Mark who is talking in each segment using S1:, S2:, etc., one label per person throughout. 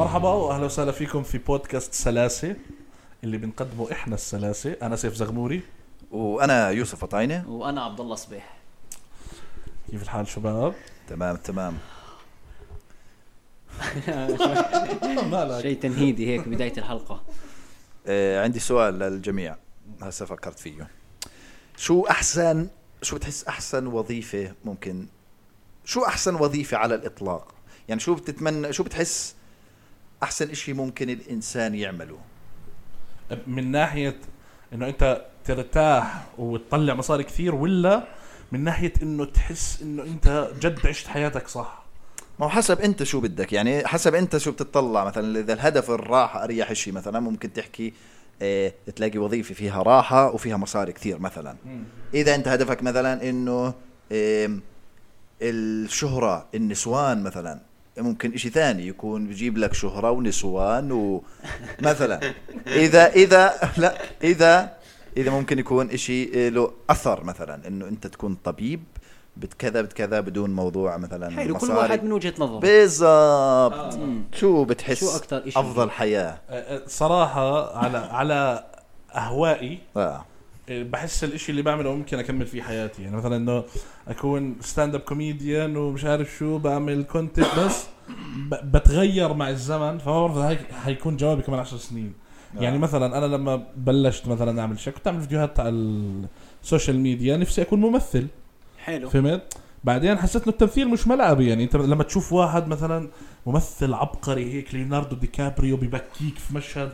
S1: اهلا وسهلا فيكم في بودكاست سلاسه اللي بنقدمه احنا السلاسه انا سيف زغموري
S2: وانا يوسف عطاينه
S3: وانا عبد الله صبيح
S1: كيف الحال شباب
S2: تمام تمام
S1: مالك
S3: شيء تنهيدي هيك بدايه الحلقه
S2: آه عندي سؤال للجميع هسه فكرت فيه شو احسن شو بتحس احسن وظيفه ممكن شو احسن وظيفه على الاطلاق يعني شو بتتمنى شو بتحس احسن اشي ممكن الانسان يعمله
S1: من ناحيه انه انت ترتاح وتطلع مصاري كثير ولا من ناحيه انه تحس انه انت جد عشت حياتك صح
S2: ما هو حسب انت شو بدك يعني حسب انت شو بتطلع مثلا اذا الهدف الراحه اريح شيء مثلا ممكن تحكي آه، تلاقي وظيفه فيها راحه وفيها مصاري كثير مثلا اذا انت هدفك مثلا انه آم، الشهره النسوان مثلا ممكن اشي ثاني يكون بجيب لك شهرة ونسوان ومثلا اذا اذا لا اذا اذا ممكن يكون اشي له اثر مثلا انه انت تكون طبيب بتكذا بتكذا بدون موضوع مثلا
S3: حلو كل
S2: مصاري.
S3: واحد من وجهه نظره
S2: بالضبط
S1: آه.
S2: شو بتحس
S3: شو أكتر إشي
S2: افضل حياه
S1: أه، أه، صراحه على على اهوائي
S2: آه.
S1: بحس الاشي اللي بعمله ممكن اكمل فيه حياتي يعني مثلا انه اكون ستاند اب كوميديان ومش عارف شو بعمل كونتنت بس ب- بتغير مع الزمن فما بعرف إذا هيك- هيكون جوابي كمان عشر سنين يعني مثلا انا لما بلشت مثلا اعمل شيء كنت اعمل فيديوهات على السوشيال ميديا نفسي اكون ممثل
S3: حلو
S1: فهمت بعدين حسيت انه التمثيل مش ملعبي يعني انت لما تشوف واحد مثلا ممثل عبقري هيك ليوناردو دي كابريو ببكيك في مشهد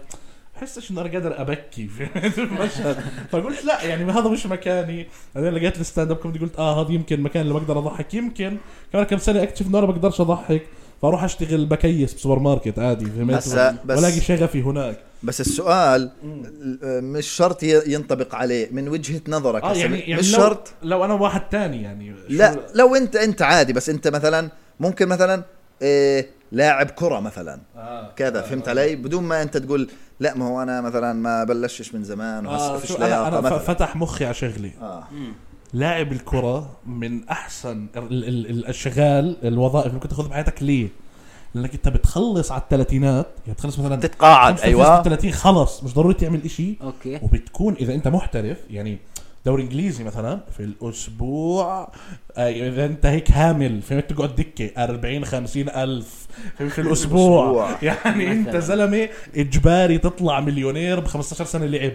S1: بحسش انه انا قادر ابكي في في المشهد فقلت لا يعني هذا مش مكاني بعدين لقيت الستاند اب كوميدي قلت اه هذا يمكن المكان اللي بقدر اضحك يمكن كمان كم سنه اكتشف انه انا بقدرش اضحك فاروح اشتغل بكيس بسوبر ماركت عادي فهمت
S2: هسا بس-
S1: والاقي شغفي هناك
S2: بس السؤال آه، مش شرط ي- ينطبق عليه من وجهه نظرك
S1: اه
S2: هسا
S1: يعني,
S2: مش
S1: يعني لو
S2: شرط
S1: لو انا واحد تاني يعني شو-
S2: لا لو انت انت عادي بس انت مثلا ممكن مثلا إيه لاعب كره مثلا
S1: آه.
S2: كذا فهمت علي بدون ما انت تقول لا ما هو انا مثلا ما بلشتش من زمان وهسه
S1: آه
S2: فيش
S1: شو انا
S2: لياقه
S1: انا ف-
S2: مثلا
S1: فتح مخي على شغلي
S2: آه.
S1: لاعب الكرة من أحسن ال- ال- ال- الأشغال الوظائف اللي ممكن تاخذها بحياتك ليه؟ لأنك أنت بتخلص على الثلاثينات يعني بتخلص مثلا
S2: تتقاعد ايوه
S1: 30 خلص مش ضروري تعمل إشي
S3: اوكي
S1: وبتكون إذا أنت محترف يعني دوري انجليزي مثلا في الاسبوع آه، اذا انت هيك هامل فهمت تقعد دكه 40 50 الف في, في الاسبوع
S2: الأسبوع.
S1: يعني انت
S3: مثلاً.
S1: زلمه اجباري تطلع مليونير ب 15 سنه لعب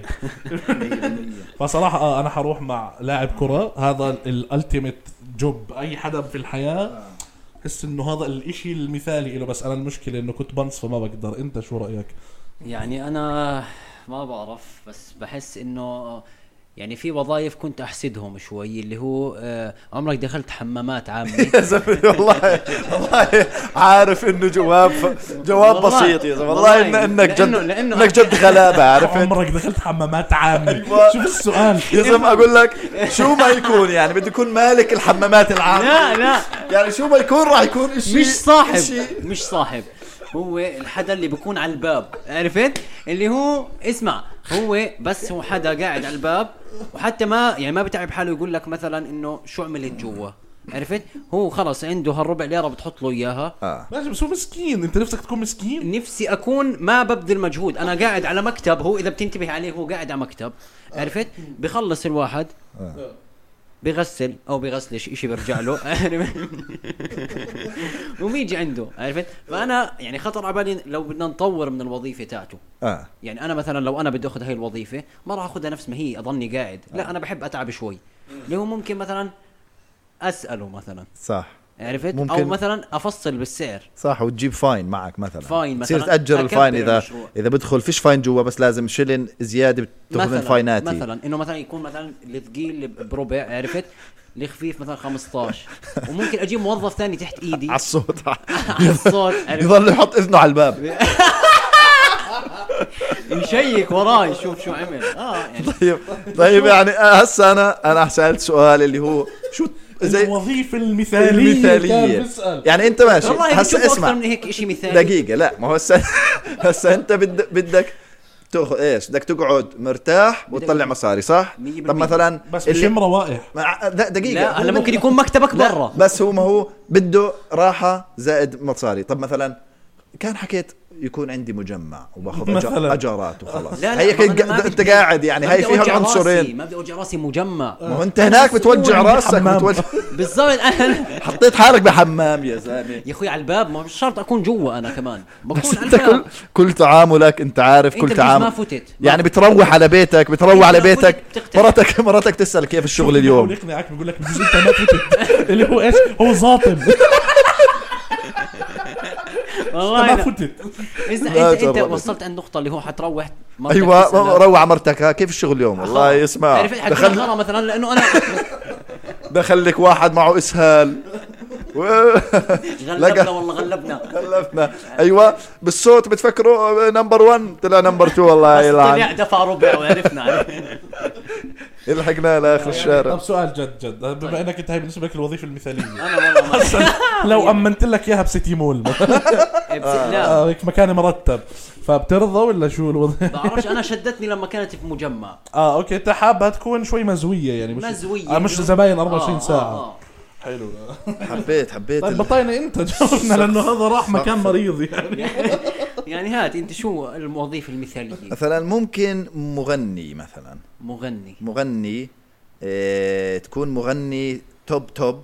S1: فصراحة آه أنا حروح مع لاعب كرة هذا الالتيميت جوب أي حدا في الحياة
S2: آه.
S1: حس إنه هذا الإشي المثالي له بس أنا المشكلة إنه كنت بنص فما بقدر أنت شو رأيك؟
S3: يعني انا ما بعرف بس بحس انه يعني في وظائف كنت احسدهم شوي اللي هو آه، عمرك دخلت حمامات عامه
S2: يا زلمه والله والله عارف انه جواب جواب
S3: والله-
S2: بسيط يا زلمه والله إن
S3: والله
S2: انك جد
S3: لأنه- لأنه-
S2: انك جد غلابه عارف انت
S1: عمرك دخلت حمامات عامة
S2: أيوة.
S1: شوف السؤال
S2: يا زلمه اقول لك شو ما يكون يعني بده يكون مالك الحمامات العامه
S3: لا لا
S2: يعني شو ما يكون راح يكون اشي
S3: مش صاحب
S2: إشي-
S3: مش صاحب هو الحدا اللي بكون على الباب عرفت اللي هو اسمع هو بس هو حدا قاعد على الباب وحتى ما يعني ما بتعب حاله يقول لك مثلا انه شو عملت جوا عرفت هو خلص عنده هالربع ليره بتحط له اياها
S2: آه.
S1: ماشي بس هو مسكين أنت نفسك تكون مسكين؟
S3: نفسي اكون ما ببذل مجهود انا قاعد على مكتب هو اذا بتنتبه عليه هو قاعد على مكتب عرفت بخلص الواحد بغسل او بغسلش اشي برجع له وبيجي عنده عرفت فانا يعني خطر على بالي لو بدنا نطور من الوظيفه تاعته
S2: اه
S3: يعني انا مثلا لو انا بدي اخذ هاي الوظيفه ما راح اخذها نفس ما هي اضلني قاعد لا انا بحب اتعب شوي اللي هو ممكن مثلا اساله مثلا
S2: صح
S3: عرفت او
S2: ممكن.
S3: مثلا افصل بالسعر
S2: صح وتجيب فاين معك مثلا
S3: فاين
S2: تصير
S3: مثلاً.
S2: تاجر
S3: أكبر
S2: الفاين اذا
S3: المشروع.
S2: اذا بدخل فيش فاين جوا بس لازم شلن زياده بتاخذ من فايناتي
S3: مثلا انه مثلا يكون مثلا الثقيل بربع عرفت الخفيف مثلا 15 وممكن اجيب موظف ثاني تحت ايدي
S2: على الصوت
S3: على الصوت عرفت؟
S2: يضل يحط اذنه على الباب
S3: يشيك وراي شوف شو عمل اه يعني
S2: طيب طيب يعني آه، هسه انا انا سألت سؤال اللي هو شو زي
S1: الوظيفة المثالية كان
S2: المثاليه
S1: بسأل
S2: يعني انت ماشي
S3: والله
S2: هسه
S3: بشوفه اكثر
S2: اسمع
S3: من هيك شيء مثالي
S2: دقيقة لا ما هو هسه هسه انت بدك بدك تاخذ ايش بدك تقعد مرتاح وتطلع مصاري صح؟
S3: مية
S2: طب
S3: بالمية.
S2: مثلا
S1: بس مش
S2: اللي-
S1: روائح
S2: مع- لا دقيقة
S3: لا
S2: هو
S3: هلا ممكن يكون مكتبك برا
S2: بس هو ما هو بده راحة زائد مصاري طب مثلا كان حكيت يكون عندي مجمع وباخذ
S1: مثلاً.
S2: أج- اجارات وخلاص
S3: لا، لا،
S2: هي
S3: ما أنا ما
S2: انت
S3: بدي-
S2: قاعد يعني
S3: ما
S2: هاي
S3: بدي
S2: فيها
S3: أوجع راسي،
S2: العنصرين
S3: ما بدي اوجع راسي مجمع
S2: ما هو انت هناك بتوجع
S1: عندي
S2: راسك
S1: حمام.
S2: بتوجع
S3: بالضبط انا
S2: حطيت حالك بحمام يا زلمه
S3: يا اخوي على الباب ما مش شرط اكون جوا انا كمان
S2: بس
S3: بكون على
S2: انت كل
S3: الباب
S2: كل تعاملك انت عارف
S3: أنت
S2: كل
S3: بجوز
S2: تعامل
S3: إيه، ما فتت. ما
S2: يعني بتروح على بيتك
S3: أنت
S2: بتروح على
S3: ما فتت
S2: بيتك
S3: بتقتل.
S2: مرتك مرتك تسال كيف الشغل
S1: بيحاول
S2: اليوم
S1: يقنعك بيقول لك بجوز انت ما فتت اللي هو ايش؟ هو ظاطم
S3: والله
S1: ما
S2: أيوة.
S3: أنا-
S1: فتت
S3: اذا
S2: لا
S3: انت انت
S2: جربت.
S3: وصلت عند النقطه اللي هو حتروح مرتك
S2: ايوه
S3: تسألك.
S2: روح على مرتك ها كيف الشغل اليوم والله اسمع
S3: عرفت حتكون
S2: دخل
S3: غلط مثلا لانه انا
S2: دخل لك واحد معه اسهال
S3: غلبنا والله غلبنا
S2: غلفنا ايوه بالصوت بتفكروا نمبر 1 طلع نمبر 2 والله
S3: بس طلع
S2: يلعن
S3: دفع ربع وعرفنا
S2: لحقنا لاخر الشارع
S1: طب سؤال جد جد بما انك انت هاي بالنسبه لك الوظيفه المثاليه
S3: انا والله ما- يعني.
S1: لو امنت لك اياها بسيتي مول
S3: لا
S1: آه، هيك مكان مرتب فبترضى ولا شو الوضع؟
S3: بعرفش انا شدتني لما كانت في مجمع
S1: اه اوكي انت حابها تكون شوي مزويه يعني مش
S3: مزوية.
S1: آه مش زباين
S3: آه،
S1: 24 ساعه
S3: آه،
S1: حلو
S2: حبيت حبيت
S1: طيب
S2: ال-
S1: بطينا انت جاوبنا لانه هذا راح مكان مريض يعني
S3: آه. يعني هات انت شو الوظيفه المثاليه
S2: مثلا ممكن مغني مثلا
S3: مغني
S2: مغني آه، تكون مغني توب توب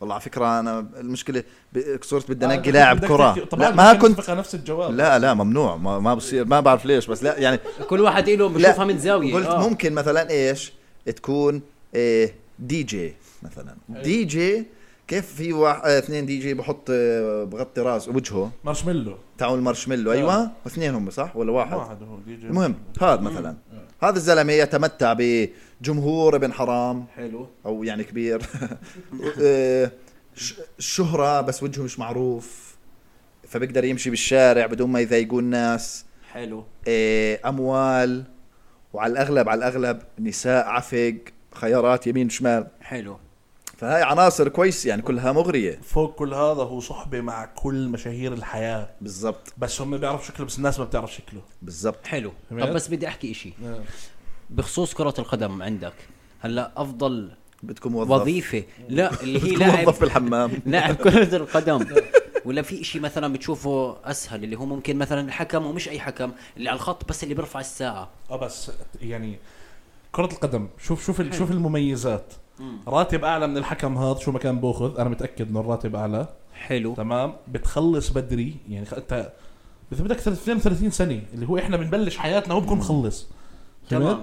S2: والله على فكره انا المشكله ب- صرت بدي انقي لاعب
S1: آه، بدك
S2: كره
S1: تحكي-
S2: لا
S1: طبعا
S2: ما كنت
S1: نفس الجواب
S2: لا لا ممنوع ما, ما بصير ما بعرف ليش بس لا يعني
S3: كل واحد له بشوفها
S2: لا
S3: من زاويه
S2: قلت
S3: آه.
S2: ممكن مثلا ايش تكون آه، دي جي مثلا دي جي كيف في واحد اثنين دي جي بحط آه، بغطي راس وجهه
S1: مارشميلو
S2: تاعون المارشميلو ايوه واثنين هم صح ولا واحد
S1: آه. واحد هو دي جي
S2: المهم هذا مثلا هذا الزلمه يتمتع بجمهور ابن حرام
S3: حلو
S2: او يعني كبير آه، ش- الشهرة بس وجهه مش معروف فبيقدر يمشي بالشارع بدون ما يضايقوا الناس
S3: حلو
S2: آه، اموال وعلى الاغلب على الاغلب نساء عفق خيارات يمين شمال
S3: حلو
S2: فهاي عناصر كويسه يعني كلها مغريه
S1: فوق كل هذا هو صحبه مع كل مشاهير الحياه
S2: بالضبط
S1: بس هم بيعرفوا شكله بس الناس ما بتعرف شكله
S2: بالضبط
S3: حلو
S1: تمام.
S3: طب بس بدي احكي إشي بخصوص كرة القدم عندك هلا أفضل
S2: بدكم موظف
S3: وظيفة لا اللي هي
S2: بدكم
S3: لاعب
S2: موظف بالحمام
S3: لاعب كرة القدم ولا في إشي مثلا بتشوفه أسهل اللي هو ممكن مثلا الحكم ومش أي حكم اللي على الخط بس اللي بيرفع الساعة
S1: اه بس يعني كرة القدم شوف شوف ال- شوف المميزات راتب اعلى من الحكم هذا شو ما كان باخذ انا متاكد انه الراتب اعلى
S3: حلو
S1: تمام بتخلص بدري يعني خ- انت اذا بدك ثلاث- 32 سنه اللي هو احنا بنبلش حياتنا هو بكون مخلص
S3: تمام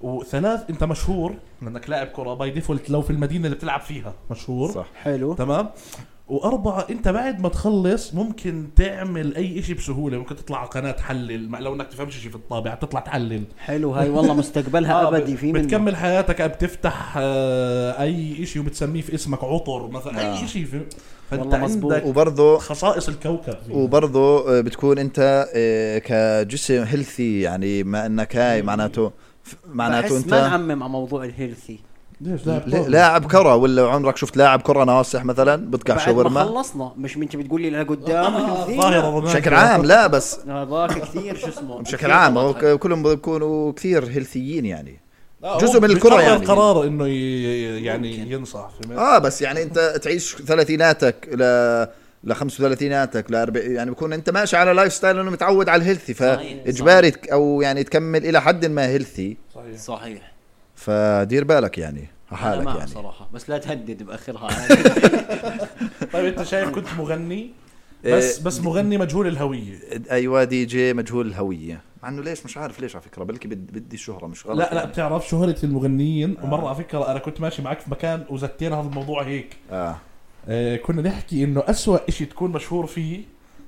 S1: وثلاث انت مشهور لانك لاعب كره باي ديفولت لو في المدينه اللي بتلعب فيها مشهور
S2: صح
S3: حلو
S1: تمام واربعه انت بعد ما تخلص ممكن تعمل اي إشي بسهوله ممكن تطلع على قناه تحلل مع- لو انك تفهمش شيء في الطابعه تطلع تحلل
S3: حلو هاي والله مستقبلها
S1: آه،
S3: أبدي في منه
S1: بتكمل حياتك آه، بتفتح آه، اي شيء وبتسميه في اسمك عطر مثلا
S2: آه.
S1: اي شيء في- فانت
S3: والله مزبوط.
S1: عندك
S2: وبرضه
S1: خصائص الكوكب فيه.
S2: وبرضه بتكون انت آه، كجسم هيلثي يعني ما انك هاي معناته ف- معناته
S3: بحس ما
S2: انت
S3: نعمم على موضوع الهيلثي
S1: ليش لاعب
S2: ل-
S1: كرة؟
S2: لاعب كره ولا عمرك شفت لاعب كره ناصح مثلا بتقع
S3: بعد ما
S2: شاورما آه،
S3: خلصنا مش انت بتقول لي لقدام
S1: آه، ظاهرة رونالدو.
S2: بشكل عام لا بس
S3: هذاك آه، كثير شو اسمه
S2: بشكل
S3: كثير
S2: عام هو
S3: مضحك.
S2: ك- كلهم بيكونوا كثير هيلثيين يعني
S1: آه،
S2: جزء
S1: هو
S2: من الكرة
S1: بيقرر
S2: يعني.
S1: قرار انه ي- يعني ينصح في
S2: اه بس يعني انت تعيش ثلاثيناتك ل ل 35 ل 40 يعني بكون انت ماشي على لايف ستايل انه متعود على الهيلثي
S3: صحيح.
S2: فاجباري تك- او يعني تكمل الى حد ما هيلثي
S1: صحيح
S3: صحيح
S2: فدير بالك يعني على
S3: انا
S2: حالك
S3: معك
S2: يعني
S3: صراحه بس لا تهدد باخرها
S1: طيب انت شايف كنت مغني بس
S2: إيه،
S1: بس مغني مجهول الهويه
S2: ايوه دي جي مجهول الهويه مع انه ليش مش عارف ليش على فكره بلكي بد- بدي الشهره مش غلط
S1: لا لا
S2: يعني.
S1: بتعرف شهرة المغنيين
S2: آه.
S1: ومرة على فكرة أنا كنت ماشي معك في مكان وزتينا هذا الموضوع هيك
S2: اه
S1: آه كنا نحكي إنه أسوأ إشي تكون مشهور فيه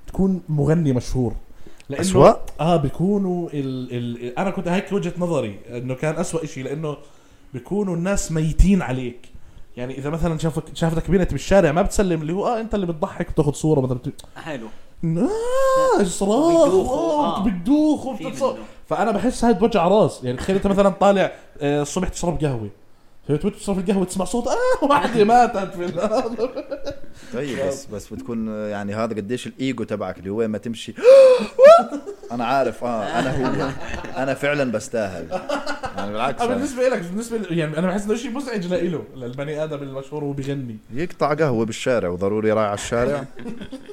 S1: تكون مغني مشهور لأنه
S2: أسوأ؟
S1: آه بيكونوا ال ال أنا كنت هيك وجهة نظري إنه كان أسوأ إشي لأنه بيكونوا الناس ميتين عليك يعني إذا مثلا شافك شافتك بنت بالشارع ما بتسلم اللي هو آه أنت اللي بتضحك بتاخذ صورة مثلا بت...
S3: حلو
S1: آه صراخ
S3: وبتدوخوا،
S1: آه،
S3: آه.
S1: بتدوخ
S3: في
S1: وبتتصور
S3: منه.
S1: فانا بحس هاي توجع راس يعني تخيل انت مثلا طالع آه، الصبح تشرب قهوه فبتفوت تشرب القهوه تسمع صوت اه واحده ماتت في الأرض.
S2: طيب بس بس بتكون يعني هذا قديش الايجو تبعك اللي هو وين ما آه، تمشي انا عارف اه انا هو انا فعلا بستاهل يعني بالعكس
S1: آه،
S2: يعني.
S1: بالنسبه لك بالنسبه ل... يعني انا بحس انه شيء مزعج لإله للبني ادم المشهور وهو بيغني
S2: يقطع قهوه بالشارع وضروري رايح على الشارع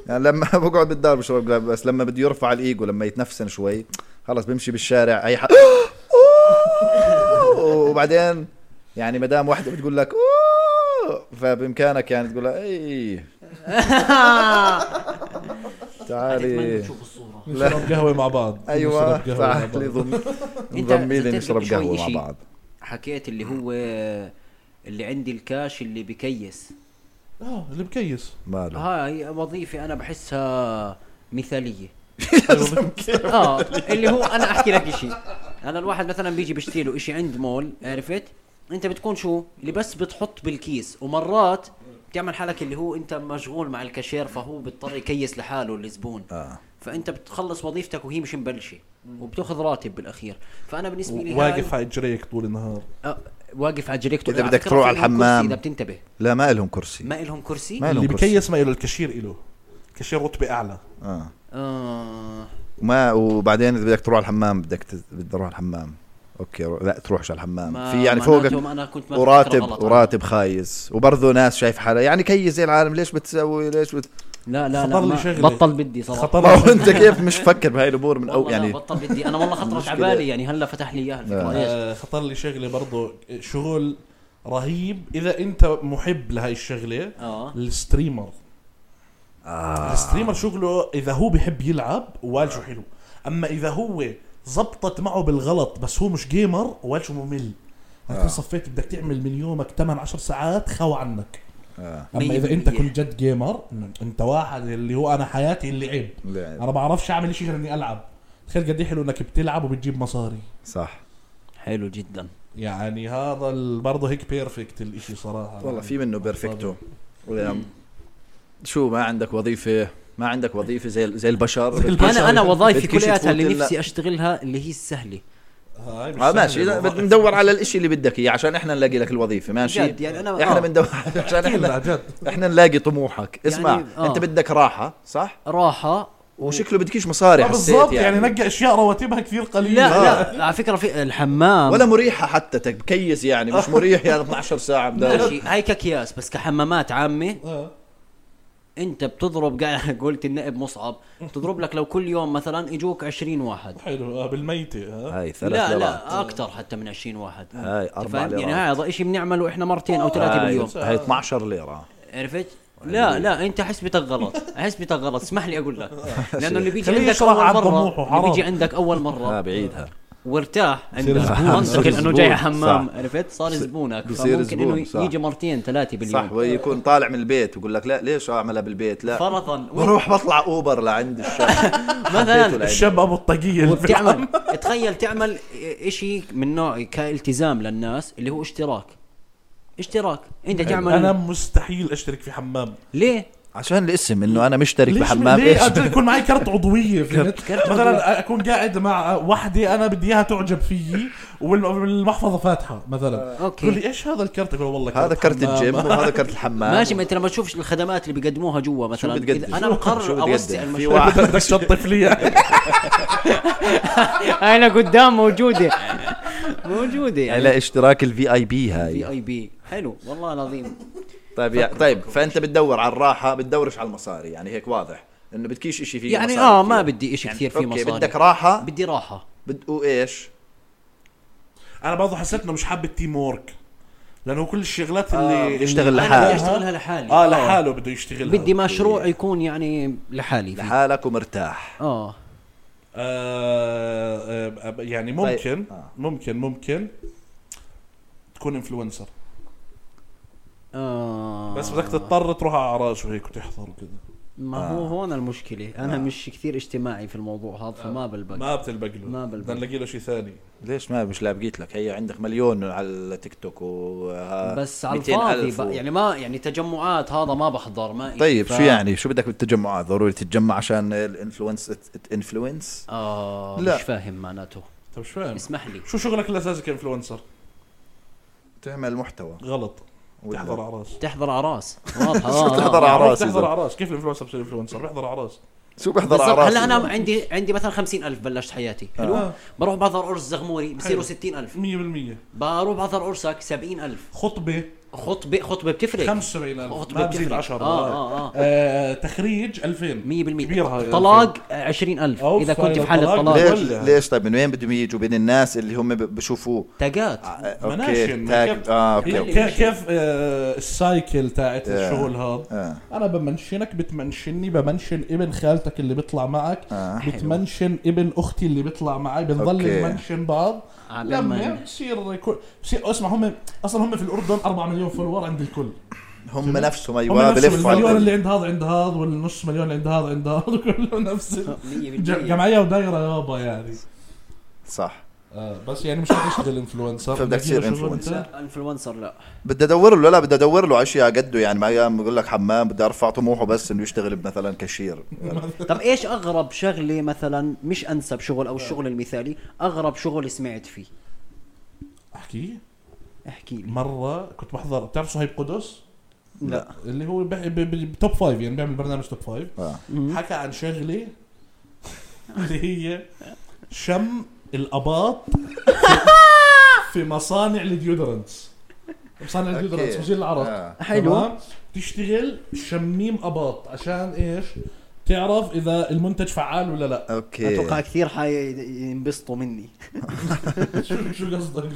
S2: يعني لما بقعد بالدار بشرب قهوة، بس لما بده يرفع الايجو لما يتنفسن شوي خلص بمشي بالشارع اي حد وبعدين يعني مدام وحده بتقول لك "أوه!" فبامكانك يعني تقول لها اي تعالي
S3: تشوف الصوره
S1: نشرب قهوه مع بعض
S2: ايوه
S1: نشرب قهوة مع
S2: تعالي
S1: بعض.
S2: ضم
S3: أنت
S2: ضميلي
S3: زدت
S2: نشرب
S3: شوي
S2: قهوه
S3: إشي.
S2: مع بعض
S3: حكيت اللي هو اللي عندي الكاش اللي بكيس
S1: اه اللي بكيس
S2: ماله
S3: هاي وظيفه انا بحسها مثاليه
S1: أيوة.
S3: اه اللي هو انا احكي لك اشي انا الواحد مثلا بيجي بيشتري له اشي عند مول عرفت انت بتكون شو اللي بس بتحط بالكيس ومرات بتعمل حالك اللي هو انت مشغول مع الكاشير فهو بيضطر يكيس لحاله الزبون
S2: اه
S3: فانت بتخلص وظيفتك وهي مش مبلشه وبتاخذ راتب بالاخير فانا بالنسبه لي
S1: واقف
S3: هاي-
S1: على اجريك طول النهار
S3: آه، واقف على جريكتور
S2: إذا
S3: على
S2: بدك
S3: فكرة
S2: تروح على
S3: فيهم كرسي
S2: الحمام.
S3: اذا بتنتبه
S2: لا ما لهم كرسي
S3: ما إلهم كرسي
S2: ما لهم
S1: اللي
S2: كرسي.
S1: بكيس ما له الكاشير له كاشير رتبه اعلى
S2: اه
S3: اه
S2: وما وبعدين اذا بدك تروح على الحمام بدك ت- بدك تروح على الحمام اوكي رو- لا تروحش على الحمام
S3: ما-
S2: في يعني
S3: معناتهم
S2: فوقك
S3: انا كنت ماخذ فكرة غلط.
S2: وراتب وراتب خايس وبرضه ناس شايف حالها يعني كيس زي العالم ليش بتسوي ليش بت...
S3: لا لا
S1: خطر
S3: لا
S1: لي
S3: ما-
S1: شغلة.
S3: بطل بدي صراحه
S1: خطر
S2: ما هو انت كيف مش فكر بهاي الامور من
S3: والله
S2: او
S3: لا،
S2: يعني
S3: بطل بدي انا والله خطرت على
S2: المشكلة-
S3: بالي يعني هلا فتح لي اياها الفكره ليش
S1: آه، خطر لي شغله برضه شغل رهيب اذا انت محب لهي الشغله
S3: اه
S1: الستريمر
S2: آه.
S1: الستريمر شغله اذا هو بحب يلعب والشو حلو اما اذا هو زبطت معه بالغلط بس هو مش جيمر والشو ممل
S2: آه.
S1: هتكون صفيت بدك تعمل من يومك 8 10 ساعات خاو عنك
S2: آه.
S1: اما
S3: مية
S1: اذا انت
S3: بالمية.
S1: كنت جد جيمر انت واحد اللي هو انا حياتي اللعب
S2: لعب.
S1: انا بعرفش اعمل شيء غير اني العب تخيل قد إيه حلو انك بتلعب وبتجيب مصاري
S2: صح
S3: حلو جدا
S1: يعني هذا ال- برضه هيك بيرفكت الاشي صراحه
S2: والله في منه بيرفكتو
S1: بالضبط.
S2: شو ما عندك وظيفه ما عندك وظيفه زي زي البشر
S3: انا انا وظايفي
S2: بدكش
S3: كلياتها اللي
S2: تفوت إلا-
S3: نفسي اشتغلها اللي هي السهله
S1: يعني هاي مش
S2: اه ماشي
S1: سهلة
S2: اذا
S1: والله.
S2: بدنا ندور على الاشي اللي بدك اياه عشان احنا نلاقي لك الوظيفه ماشي
S3: جد، يعني أنا-
S2: احنا
S3: آه.
S2: بندور عشان
S1: كتير،
S2: احنا
S1: لا، جد
S2: احنا نلاقي طموحك اسمع يعني
S3: آه.
S2: انت بدك راحه صح
S3: راحه
S2: وشكله بدكيش مصاري
S1: آه، بالضبط
S2: حسيت
S1: يعني
S2: يعني,
S1: نقى اشياء رواتبها كثير قليله
S3: لا
S1: آه.
S3: لا على فكره في الحمام
S2: ولا مريحه حتى تكيس يعني مش مريح يعني 12 ساعه بدور
S3: ماشي هاي كاكياس بس كحمامات عامه
S1: آه.
S3: انت بتضرب قاعد قلت النائب مصعب بتضرب لك لو كل يوم مثلا اجوك 20 واحد
S1: حلو آه بالميتة آه.
S2: هاي ثلاث
S3: لا
S2: ليرات
S3: لا اكثر حتى من 20 واحد
S2: هاي
S3: أنت
S2: أربع
S3: فاهم؟ يعني
S2: ليرات.
S3: هذا شيء بنعمله احنا مرتين او ثلاثه
S2: هاي,
S3: باليوم
S2: هاي 12 ليره
S3: عرفت؟ لا لا انت حسبتك غلط، حسبتك غلط، اسمح لي اقول لك، لانه اللي بيجي
S1: خليه
S3: عندك
S1: يشرح عن
S3: اول
S1: طموحه،
S3: مره اللي بيجي
S1: حرام.
S3: عندك اول
S2: ها
S3: مره
S2: آه، بعيدها
S3: وارتاح
S1: بصير
S3: عندك
S1: زبون.
S3: منطق
S2: بصير
S3: انه جاي على
S2: زبون،
S3: حمام
S2: صح.
S3: عرفت؟ صار زبونك
S2: بصير
S3: فممكن
S2: زبون،
S3: انه
S2: صح.
S3: يجي مرتين ثلاثه
S2: صح
S3: باليوم
S2: ويكون طالع من البيت ويقول لك لا ليش اعملها بالبيت لا
S3: فرضا
S2: بروح بطلع اوبر لعند الشارع
S3: مثلا
S1: الشاب ابو الطاقية اللي
S3: وبتعمل تخيل تعمل اشي من نوع كالتزام للناس اللي هو اشتراك اشتراك انت تعمل
S2: إيه؟
S1: انا مستحيل اشترك في حمام
S3: ليه؟
S2: عشان الاسم انه انا مشترك بحمام
S1: ليش
S2: ايش
S1: أقدر يكون معي كرت عضويه فهمت
S3: كرت
S1: مثلا اكون قاعد مع وحده انا بدي اياها تعجب فيي والم- والمحفظه فاتحه مثلا
S3: أوكي.
S1: تقول لي ايش هذا الكرت اقول والله
S2: آه، هذا كرت
S1: حمام.
S2: الجيم وهذا كرت الحمام
S3: ماشي ما انت لما تشوفش الخدمات اللي بيقدموها جوا مثلا
S2: بتقدم؟
S3: إذا
S2: شو-
S3: انا
S2: شو
S3: مقرر
S2: بتقدم؟
S3: اوسع
S2: في
S3: المشروع
S2: واحد
S1: بدك تشطف لي إياه.
S3: هاي انا قدام موجوده موجوده يعني
S2: على اشتراك الفي اي بي
S3: في
S2: هاي
S3: اي بي حلو والله العظيم
S2: طيب يا طيب فانت بتدور على الراحه بتدورش على المصاري يعني هيك واضح انه بدكيش اشي فيه
S3: يعني
S2: مصاري
S3: اه
S2: كثير.
S3: ما بدي اشي كثير فيه
S2: اوكي
S3: مصاري
S2: بدك راحه
S3: بدي راحه
S2: بد... وايش
S1: انا برضه حسيت انه مش حابب التيم وورك لانه كل الشغلات
S2: آه،
S1: اللي
S2: بيشتغل
S1: اللي-
S2: لحاله.
S3: انا بدي اشتغلها لحالي
S2: آه.
S1: اه لحاله بده يشتغلها
S3: بدي مشروع يكون يعني لحالي فيه.
S2: لحالك ومرتاح
S3: اه
S1: آه آه، يعني ممكن
S2: طيب. آه.
S1: ممكن ممكن تكون انفلونسر
S3: اه
S1: بس بدك تضطر تروح على اعراس وهيك وتحضر وكذا
S3: ما
S2: آه.
S3: هو هون المشكله انا مش كثير اجتماعي في الموضوع هذا
S2: آه.
S3: فما بلبق
S1: ما بتلبق له
S3: طيب. ما بلبق.
S1: بدنا نلاقي له شيء ثاني
S2: ليش ما مش لاقيت لك هي عندك مليون على التيك توك و
S3: بس على
S2: 200,000
S3: الفاضي بقى،
S2: و-
S3: يعني ما يعني تجمعات هذا ما بحضر ما إشي.
S2: طيب
S3: ف-
S2: شو يعني شو بدك بالتجمعات ضروري تتجمع عشان الانفلونس انفلونس
S3: اه
S2: لا.
S3: مش فاهم معناته
S1: طب طيب شو فاهم
S3: اسمح لي
S1: شو شغلك الاساسي كانفلونسر
S2: تعمل محتوى
S1: غلط
S2: ولا-
S1: تحضر اعراس
S3: تحضر اعراس واضحه
S2: شو
S3: آه، آه.
S2: تحضر
S1: يعني
S2: اعراس
S1: تحضر
S2: إذا؟
S1: اعراس كيف الانفلونسر بصير انفلونسر بيحضر اعراس
S2: شو بحضر على
S3: بالضبط
S2: راسي
S3: هلا انا عندي عندي مثلا 50000 بلشت حياتي حلو
S1: آه.
S3: بروح بحضر قرص زغموري بصيروا
S1: حلو.
S3: 60000
S1: 100%
S3: بروح بحضر قرصك 70000
S1: خطبه
S3: خطبه خطبه بتفرق
S1: 75000
S3: خطبة
S1: ما بزيد
S3: بتفرق.
S1: 10
S3: آه، آه، آه.
S1: آه، تخريج 2000
S3: 100%
S1: كبيرة هاي
S3: طلاق 20000
S1: أوف،
S3: اذا كنت
S1: هاي
S3: في حاله
S1: الطلاق ليه؟
S3: طلاق
S2: ليش
S1: ولا-
S2: ليش طيب من وين بدهم يجوا بين الناس اللي هم ب- بشوفوه
S3: تاجات
S2: آه، اوكي
S1: مناشن
S2: تاك اه اوكي
S1: كيف-
S2: اوكي
S1: كيف- كيف آه، السايكل تاعت الشغل هذا
S2: آه.
S1: انا بمنشنك بتمنشني بمنشن ابن خالتك اللي بيطلع معك
S2: آه.
S1: بتمنشن ابن اختي اللي بيطلع معي بنضل
S2: أوكي.
S1: نمنشن بعض
S3: على
S1: لما
S3: ما-
S1: بصير كل- بصير اسمع هم اصلا هم في الاردن 4 مليون فولور عند الكل
S2: هم نفسهم
S1: هم
S2: ايوه
S1: نفس
S2: بلفوا
S1: المليون
S2: على
S1: اللي
S2: الكل.
S1: عند هذا عند هذا والنص مليون اللي عند هذا عند هذا كلهم نفس ال-
S3: 100%
S1: جمعيه ودايره يابا يعني
S2: صح
S1: آه بس يعني مش بدك تشتغل انفلونسر
S2: فبدك تصير influencer.
S3: لا انفلونسر لا
S2: بدي ادور له لا بدي ادور له اشياء قده يعني ما أيام بقول لك حمام بدي ارفع طموحه بس انه يشتغل مثلا كاشير
S3: طب ايش اغرب شغله مثلا مش انسب شغل او الشغل المثالي اغرب شغل سمعت فيه
S1: احكي
S3: احكي لي
S1: مره كنت بحضر بتعرف صهيب قدس
S3: لا
S1: اللي هو بح- ب- ب- بتوب فايف يعني بيعمل برنامج توب فايف
S2: آه.
S1: حكى عن شغله اللي هي شم الاباط في مصانع الديودرنتس مصانع
S2: أوكي.
S1: الديودرنتس وزي العرق
S2: آه.
S3: حلو.
S1: تمام؟ تشتغل شميم اباط عشان ايش تعرف اذا المنتج فعال ولا لا
S2: اوكي
S3: اتوقع كثير حينبسطوا مني
S1: شو شو قصدك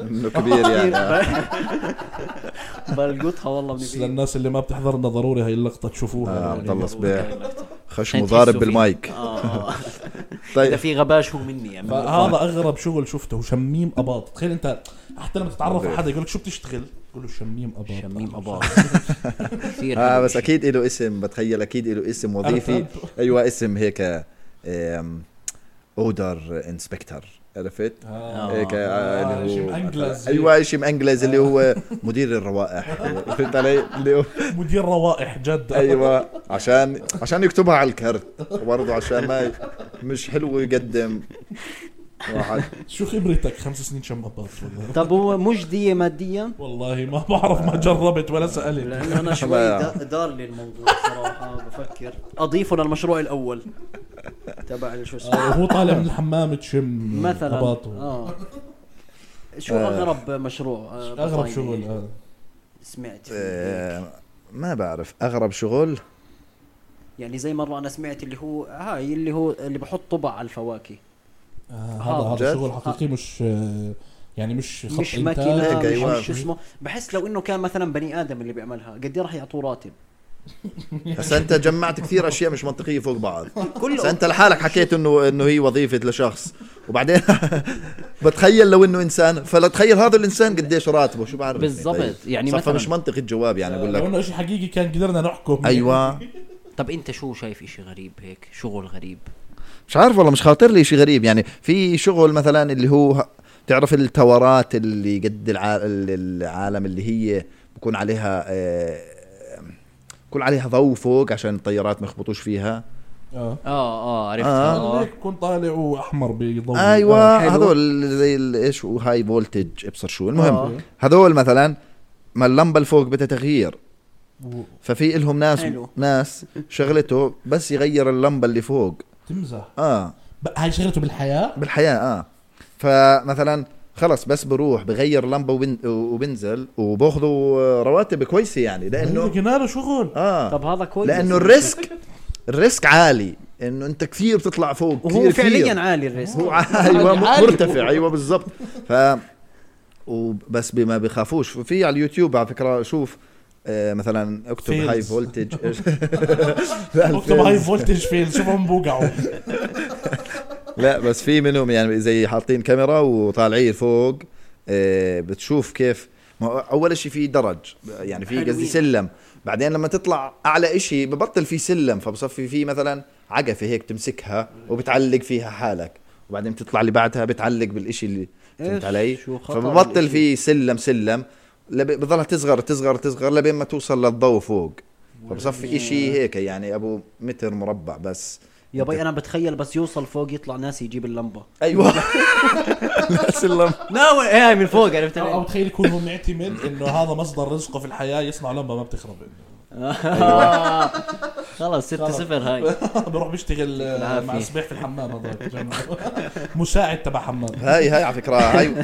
S2: انه كبير يعني آه.
S3: طيب. بلقطها والله من
S1: بس
S3: بعيد.
S1: للناس اللي ما بتحضرنا ضروري هاي اللقطه تشوفوها يعني.
S2: آه، عبد الله صبيح خشمه
S3: عشان
S2: ضارب
S3: تحسوا فيه.
S2: بالمايك
S3: آه، آه. اذا
S2: طيب
S3: في غباش هو مني يعني
S1: فهذا اغرب شغل شفته شميم اباط تخيل انت حتى لما تتعرف على حدا يقول لك شو بتشتغل تقول له شميم اباط
S3: شميم اباط كثير
S2: اه
S3: حلو.
S2: بس اكيد له اسم بتخيل اكيد له اسم وظيفي
S1: عرفت.
S2: ايوه اسم هيك آم، اودر انسبكتر عرفت؟
S1: آه.
S2: هيك آه،
S1: آه،
S2: اللي
S1: شي
S2: هو
S1: مأنجلز.
S2: ايوه شيء مانجلز اللي هو مدير الروائح فهمت علي؟ اللي هو
S1: مدير روائح جد
S2: ايوه عشان عشان يكتبها على الكرت برضه عشان ما ي- مش حلو يقدم واحد
S1: شو خبرتك خمس سنين شم اباط والله.
S3: طب هو مجديه ماديا
S1: والله ما بعرف ما جربت ولا سالت
S3: لانه انا شوي
S2: لا.
S3: دا- دار لي الموضوع صراحه بفكر اضيفه للمشروع الاول تبع شو
S1: آه،
S3: اسمه
S1: هو طالع من الحمام تشم
S3: مثلا
S1: اباطه
S3: اه شو
S2: آه.
S3: اغرب مشروع آه،
S1: اغرب
S3: بطايني
S1: شغل آه.
S3: سمعت فيه هيك؟
S2: آه، ما بعرف اغرب شغل
S3: يعني زي مره انا سمعت اللي هو هاي اللي هو اللي بحط طبع على الفواكه
S1: آه،
S3: آه،
S1: هذا هذا
S2: جد؟
S1: شغل حقيقي مش آه، يعني مش خط
S3: مش
S1: إنتاج.
S3: ماكينه
S2: هيك، أيوة.
S3: مش شو اسمه بحس لو انه كان مثلا بني ادم اللي بيعملها قد ايه راح يعطوه راتب
S2: بس انت جمعت كثير اشياء مش منطقيه فوق بعض
S3: كله-
S2: بس انت لحالك حكيت انه انه هي وظيفه لشخص وبعدين بتخيل لو انه انسان فلا تخيل هذا الانسان قديش راتبه شو بعرف طيب.
S3: بالضبط، يعني
S2: صح
S3: مثلاً.
S2: فمش منطقي الجواب يعني
S1: آه،
S2: بقول
S1: لو
S2: لك
S1: انه شيء حقيقي كان قدرنا نحكم
S2: ايوه
S3: طب انت شو شايف اشي غريب هيك شغل غريب
S2: مش عارف والله مش خاطر لي شيء غريب يعني في شغل مثلا اللي هو تعرف التورات اللي قد الع- العالم اللي هي بكون عليها آه، بكون عليها ضوء فوق عشان الطيارات ما يخبطوش فيها
S1: اه
S3: اه اه عرفت
S2: آه.
S1: هذا ليك يكون طالع واحمر بضوء آه،
S2: ايوه
S3: طيب، حلو.
S2: هذول زي ال- ايش وهاي فولتج ابصر شو المهم
S3: آه.
S2: هذول مثلا ما اللمبه الفوق بدها تغيير ففي إلهم ناس
S3: حلو.
S2: ناس شغلته بس يغير اللمبه اللي فوق
S1: تمزح
S2: اه
S1: بقى هاي شغلته بالحياه
S2: بالحياه اه فمثلا خلص بس بروح بغير لمبه وبن... وبنزل وباخذوا رواتب كويسه يعني
S1: انه
S2: لانه
S1: جناله شغل
S2: اه
S3: طب هذا كويس
S2: لانه الريسك الريسك عالي انه انت كثير بتطلع فوق
S3: وهو
S2: كثير
S3: فعليا
S2: كثير
S3: عالي الريسك
S2: هو ايوه م-
S1: عالي.
S2: مرتفع ايوه بالضبط ف وبس بما بيخافوش في على اليوتيوب على فكره شوف آه مثلا اكتب
S1: Fails.
S2: هاي فولتج
S1: اكتب هاي فولتج فيل شوفهم بوقعوا
S2: لا بس في منهم يعني زي حاطين كاميرا وطالعين فوق آه، بتشوف كيف ما هو اول شيء في درج يعني في قصدي
S3: حلوين.
S2: سلم بعدين لما تطلع اعلى شيء ببطل في سلم فبصفي في مثلا عقفه هيك تمسكها وبتعلق فيها حالك وبعدين بتطلع اللي بعدها بتعلق بالشيء اللي فهمت
S3: إيش،
S2: علي
S3: شو خطر
S2: فببطل
S3: الإشي.
S2: في سلم سلم لب- بتضلها تصغر تصغر تصغر لبين ما توصل للضوء فوق فبصفي شيء هيك يعني ابو متر مربع بس
S3: يا بي انا بتخيل بس يوصل فوق يطلع ناس يجيب اللمبه
S2: ايوه سلم
S3: لا و- ايه من فوق عرفت
S1: او
S3: علي؟
S1: تخيل يكون هو معتمد انه هذا مصدر رزقه في الحياه يصنع لمبه ما بتخرب
S3: خلص 6 0 هاي
S1: بروح بشتغل آه، مع
S3: العافية.
S1: صبيح في الحمام هذاك مساعد تبع حمام
S2: هاي هاي على فكره هاي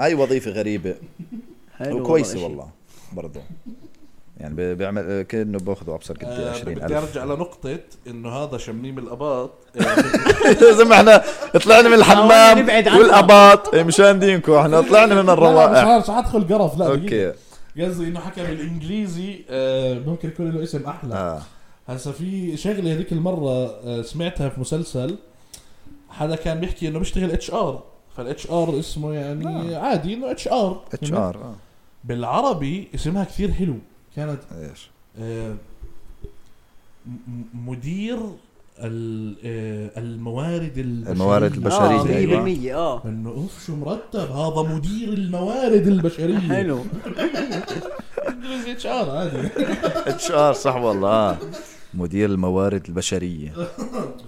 S2: هاي وظيفه غريبه
S3: حلو
S2: وكويسه
S3: أيوة، شيء.
S2: والله برضه يعني ب- بيعمل كانه باخذوا ابصر قد إيه،
S1: آه،
S2: 20000
S1: بدي ارجع لنقطة انه هذا شميم الاباط آه،
S2: يا زلمه احنا طلعنا من
S3: حاولنا
S2: الحمام
S3: نبعد عنها.
S2: والاباط مشان دينكم احنا طلعنا من
S1: لا،
S2: الروائح
S1: لا، مش مش حدخل قرف لا دقيقة.
S2: اوكي
S1: قصدي انه حكى بالانجليزي آه، ممكن يكون له اسم احلى
S2: اه
S1: هسا في شغله هذيك المره آه، سمعتها في مسلسل حدا كان بيحكي انه بيشتغل اتش ار فالاتش ار اسمه يعني
S2: آه.
S1: عادي انه اتش ار
S2: اتش ار
S1: بالعربي اسمها كثير حلو كانت
S2: ايش
S1: آه، م- م- مدير ال- آه، الموارد آه، البشريه
S2: الموارد البشرية،
S3: اه
S2: بشرية، أيوة.
S3: 100% اه
S1: انه اوف شو مرتب هذا مدير الموارد البشريه
S3: حلو
S1: اتش ار عادي
S2: اتش ار صح والله آه. مدير الموارد البشريه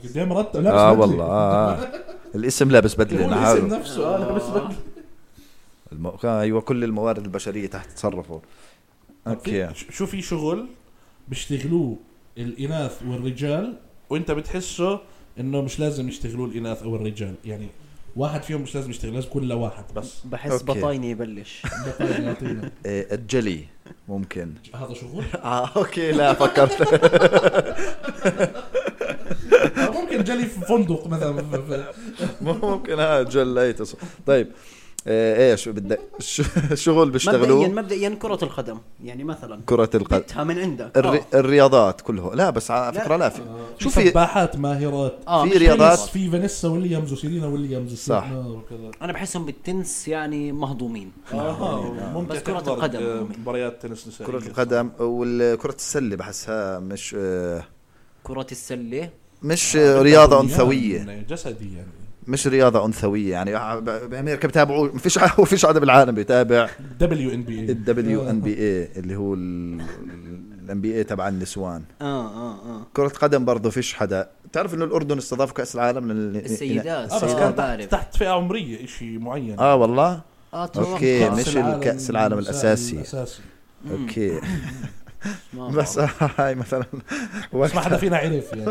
S1: قد ايه مرتب لا بس
S2: اه
S1: بدلي.
S2: والله اه آه. الاسم لابس بدله
S1: هو الاسم
S2: نحاله
S1: نفسه اه لابس بدلة.
S2: الم... كان- ايوه كل الموارد البشريه تحت تصرفه اوكي
S1: ش- شو في شغل بيشتغلوه الاناث والرجال وانت بتحسه انه مش لازم يشتغلوه الاناث او الرجال يعني واحد فيهم مش لازم يشتغل لازم كل واحد بس
S3: بحس
S2: أوكي.
S3: بطايني يبلش
S1: بطل يعطينا.
S2: إيه، الجلي ممكن
S1: هذا شغل
S2: اه اوكي لا فكرت
S1: أو ممكن جلي في فندق مثلا ف- ف-
S2: ممكن اه جليت أص- طيب إيه، ايش بدك ش- شغل
S3: مبدئيا
S2: بيشتغلوه
S3: مبدئيا كرة القدم يعني مثلا
S2: كرة القدم
S3: بتها من عندك
S2: طيب. الري...
S3: آه.
S2: الرياضات كلها لا بس على
S3: لا.
S2: فكره لا في شو
S1: في
S2: في
S1: سباحات ماهرات
S3: آه،
S2: في
S3: مش
S2: رياضات.
S1: بس في فانيسا ويليامز وسيلينا ويليامز
S2: صح.
S1: السنة وكذا
S3: انا بحسهم بالتنس يعني مهضومين
S1: اه ممتع
S3: بس كرة
S1: تحضر،
S3: القدم.
S1: آه، مباريات تنس نسائية
S2: كرة القدم وكرة السلة بحسها مش آه،
S3: كرة السلة
S2: مش آه، رياضة
S1: بدها
S2: أنثوية
S1: بنيان جسدي يعني
S2: مش رياضة أنثوية يعني آه، ب- بأمريكا بتابعوا ما فيش ما فيش حدا بالعالم بيتابع
S1: دبليو ان بي اي
S2: الدبليو ان بي إيه. اي اللي هو الان بي اي تبع النسوان
S3: اه اه اه
S2: كرة قدم برضه فيش حدا بتعرف انه الاردن استضاف كأس العالم لل...
S3: السيدات.
S1: اه بس
S3: آه،
S1: كان
S3: بعرف.
S1: تحت- تحت فئة عمرية شيء معين
S2: اه والله
S3: اه
S2: أوكي،
S3: أتوقع.
S2: إيه، مش الكأس العالم الأساسي.
S1: الاساسي
S2: اوكي
S3: ما
S2: بس
S3: بعرف.
S2: هاي مثلا
S1: بس ما حدا فينا عرف يعني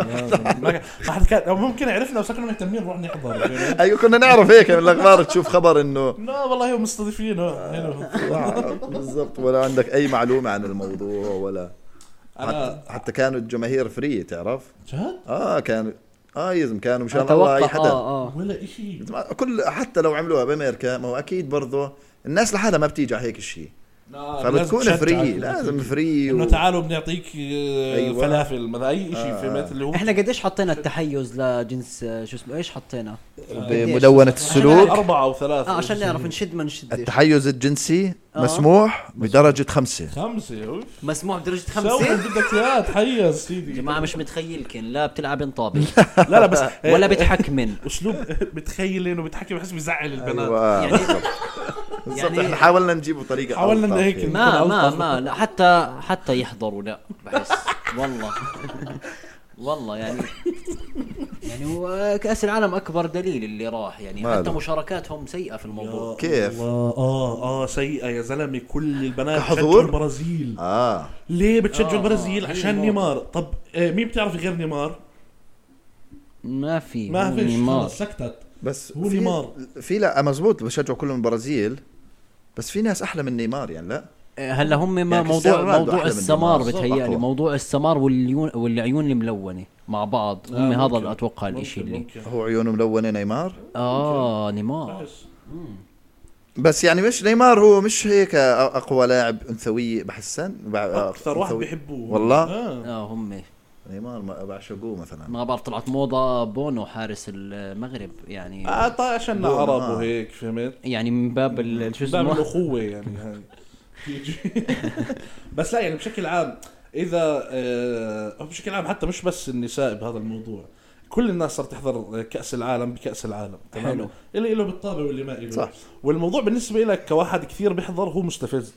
S1: ما- ما حدا كان أو ممكن عرفنا بس كنا مهتمين نروح نحضر
S2: ايوه كنا نعرف هيك من الاخبار تشوف خبر انه
S1: لا والله هم مستضيفين آه، حلو.
S2: آه، بالضبط ولا عندك اي معلومه عن الموضوع ولا
S1: انا
S2: حتى, حتى كانوا الجماهير فري تعرف
S1: جد
S2: اه كانوا اه يزم كانوا مشان الله اي
S3: اتوقع
S2: حدا
S3: اه اه
S1: ولا شيء
S2: كل حتى لو عملوها بامريكا ما هو اكيد برضه الناس لحالها ما بتيجي على هيك شيء فبتكون فري لازم فري
S1: انه
S2: و...
S1: تعالوا بنعطيك آه،
S2: أيوة. آه.
S1: فلافل مثلا اي شيء في مثل اللي هو
S3: احنا قديش حطينا التحيز لجنس آه، شو اسمه ايش حطينا؟
S2: بمدونه السلوك
S1: اربعه او ثلاثه
S3: اه عشان نعرف نشد ما نشدش
S2: التحيز الجنسي
S3: آه.
S2: مسموح بدرجه خمسه
S1: خمسه اوف
S3: مسموح بدرجة
S1: سوي
S3: خمسة
S1: اللي بدك اياه تحيز سيدي
S3: يا جماعة مش متخيلكن لا بتلعب انطابة
S1: لا لا بس
S3: ولا بتحكمن
S1: اسلوب بتخيلين وبتحكي بحس بزعل البنات
S2: ايوه
S3: يعني
S2: بالضبط
S3: يعني-
S2: احنا حاولنا نجيبه طريقه
S1: حاولنا
S2: ألطف
S1: هيك.
S2: يعني.
S3: ما ما ما لا حتى حتى يحضروا لا بحس والله والله يعني يعني هو كأس العالم أكبر دليل اللي راح يعني
S2: ماله.
S3: حتى مشاركاتهم سيئة في الموضوع
S2: كيف؟
S1: الله اه اه سيئه يا زلمه كل البنات
S2: كحضور؟
S1: بتشجعوا البرازيل
S2: اه
S1: ليه بتشجعوا
S3: آه،
S1: البرازيل
S3: هي
S1: عشان
S3: النقطة.
S1: إيه، نيمار طب آه، مين بتعرف غير نيمار
S3: ما في
S1: ما
S3: هو
S1: فيش
S3: نيمار.
S1: خلص سكتت
S2: بس
S1: هو
S2: في-
S1: نيمار.
S2: في لا مزبوط بشجعوا كلهم البرازيل بس في ناس احلى من نيمار يعني لا
S3: هلا هم ما
S2: يعني كريستيانو
S3: موضوع
S2: رونالدو
S3: موضوع
S2: أحلى من
S3: السمار
S2: نيمار.
S3: بتهيألي
S2: أقوى.
S3: موضوع السمار والعيون والعيون الملونه مع بعض
S1: آه،
S3: هم هذا
S1: ممكن.
S3: اللي اتوقع الشيء
S1: ممكن-
S3: اللي
S1: ممكن.
S2: هو عيونه ملونه نيمار
S3: اه نيمار
S1: بحس.
S2: بس يعني مش نيمار هو مش هيك اقوى لاعب انثوي بحسن بع-
S1: اكثر واحد
S2: أنثوي.
S1: بيحبوه
S2: آه، والله؟
S1: آه.
S3: اه هم
S2: نيمار ما بعشقوه مثلا
S3: ما بعرف طلعت موضه بونو حارس المغرب يعني
S1: اه طيب عشان
S2: هو
S1: عرب
S2: نيمار.
S1: وهيك فهمت
S3: يعني من باب ال- شو
S1: باب
S3: اسمه
S1: الاخوه يعني هاي بس لا يعني بشكل عام اذا آه، بشكل عام حتى مش بس النساء بهذا الموضوع كل الناس صارت تحضر كاس العالم بكاس العالم تمام
S3: حلو.
S1: اللي له بالطابه واللي ما له
S2: صح.
S1: والموضوع بالنسبه لك كواحد كثير بيحضر هو مستفز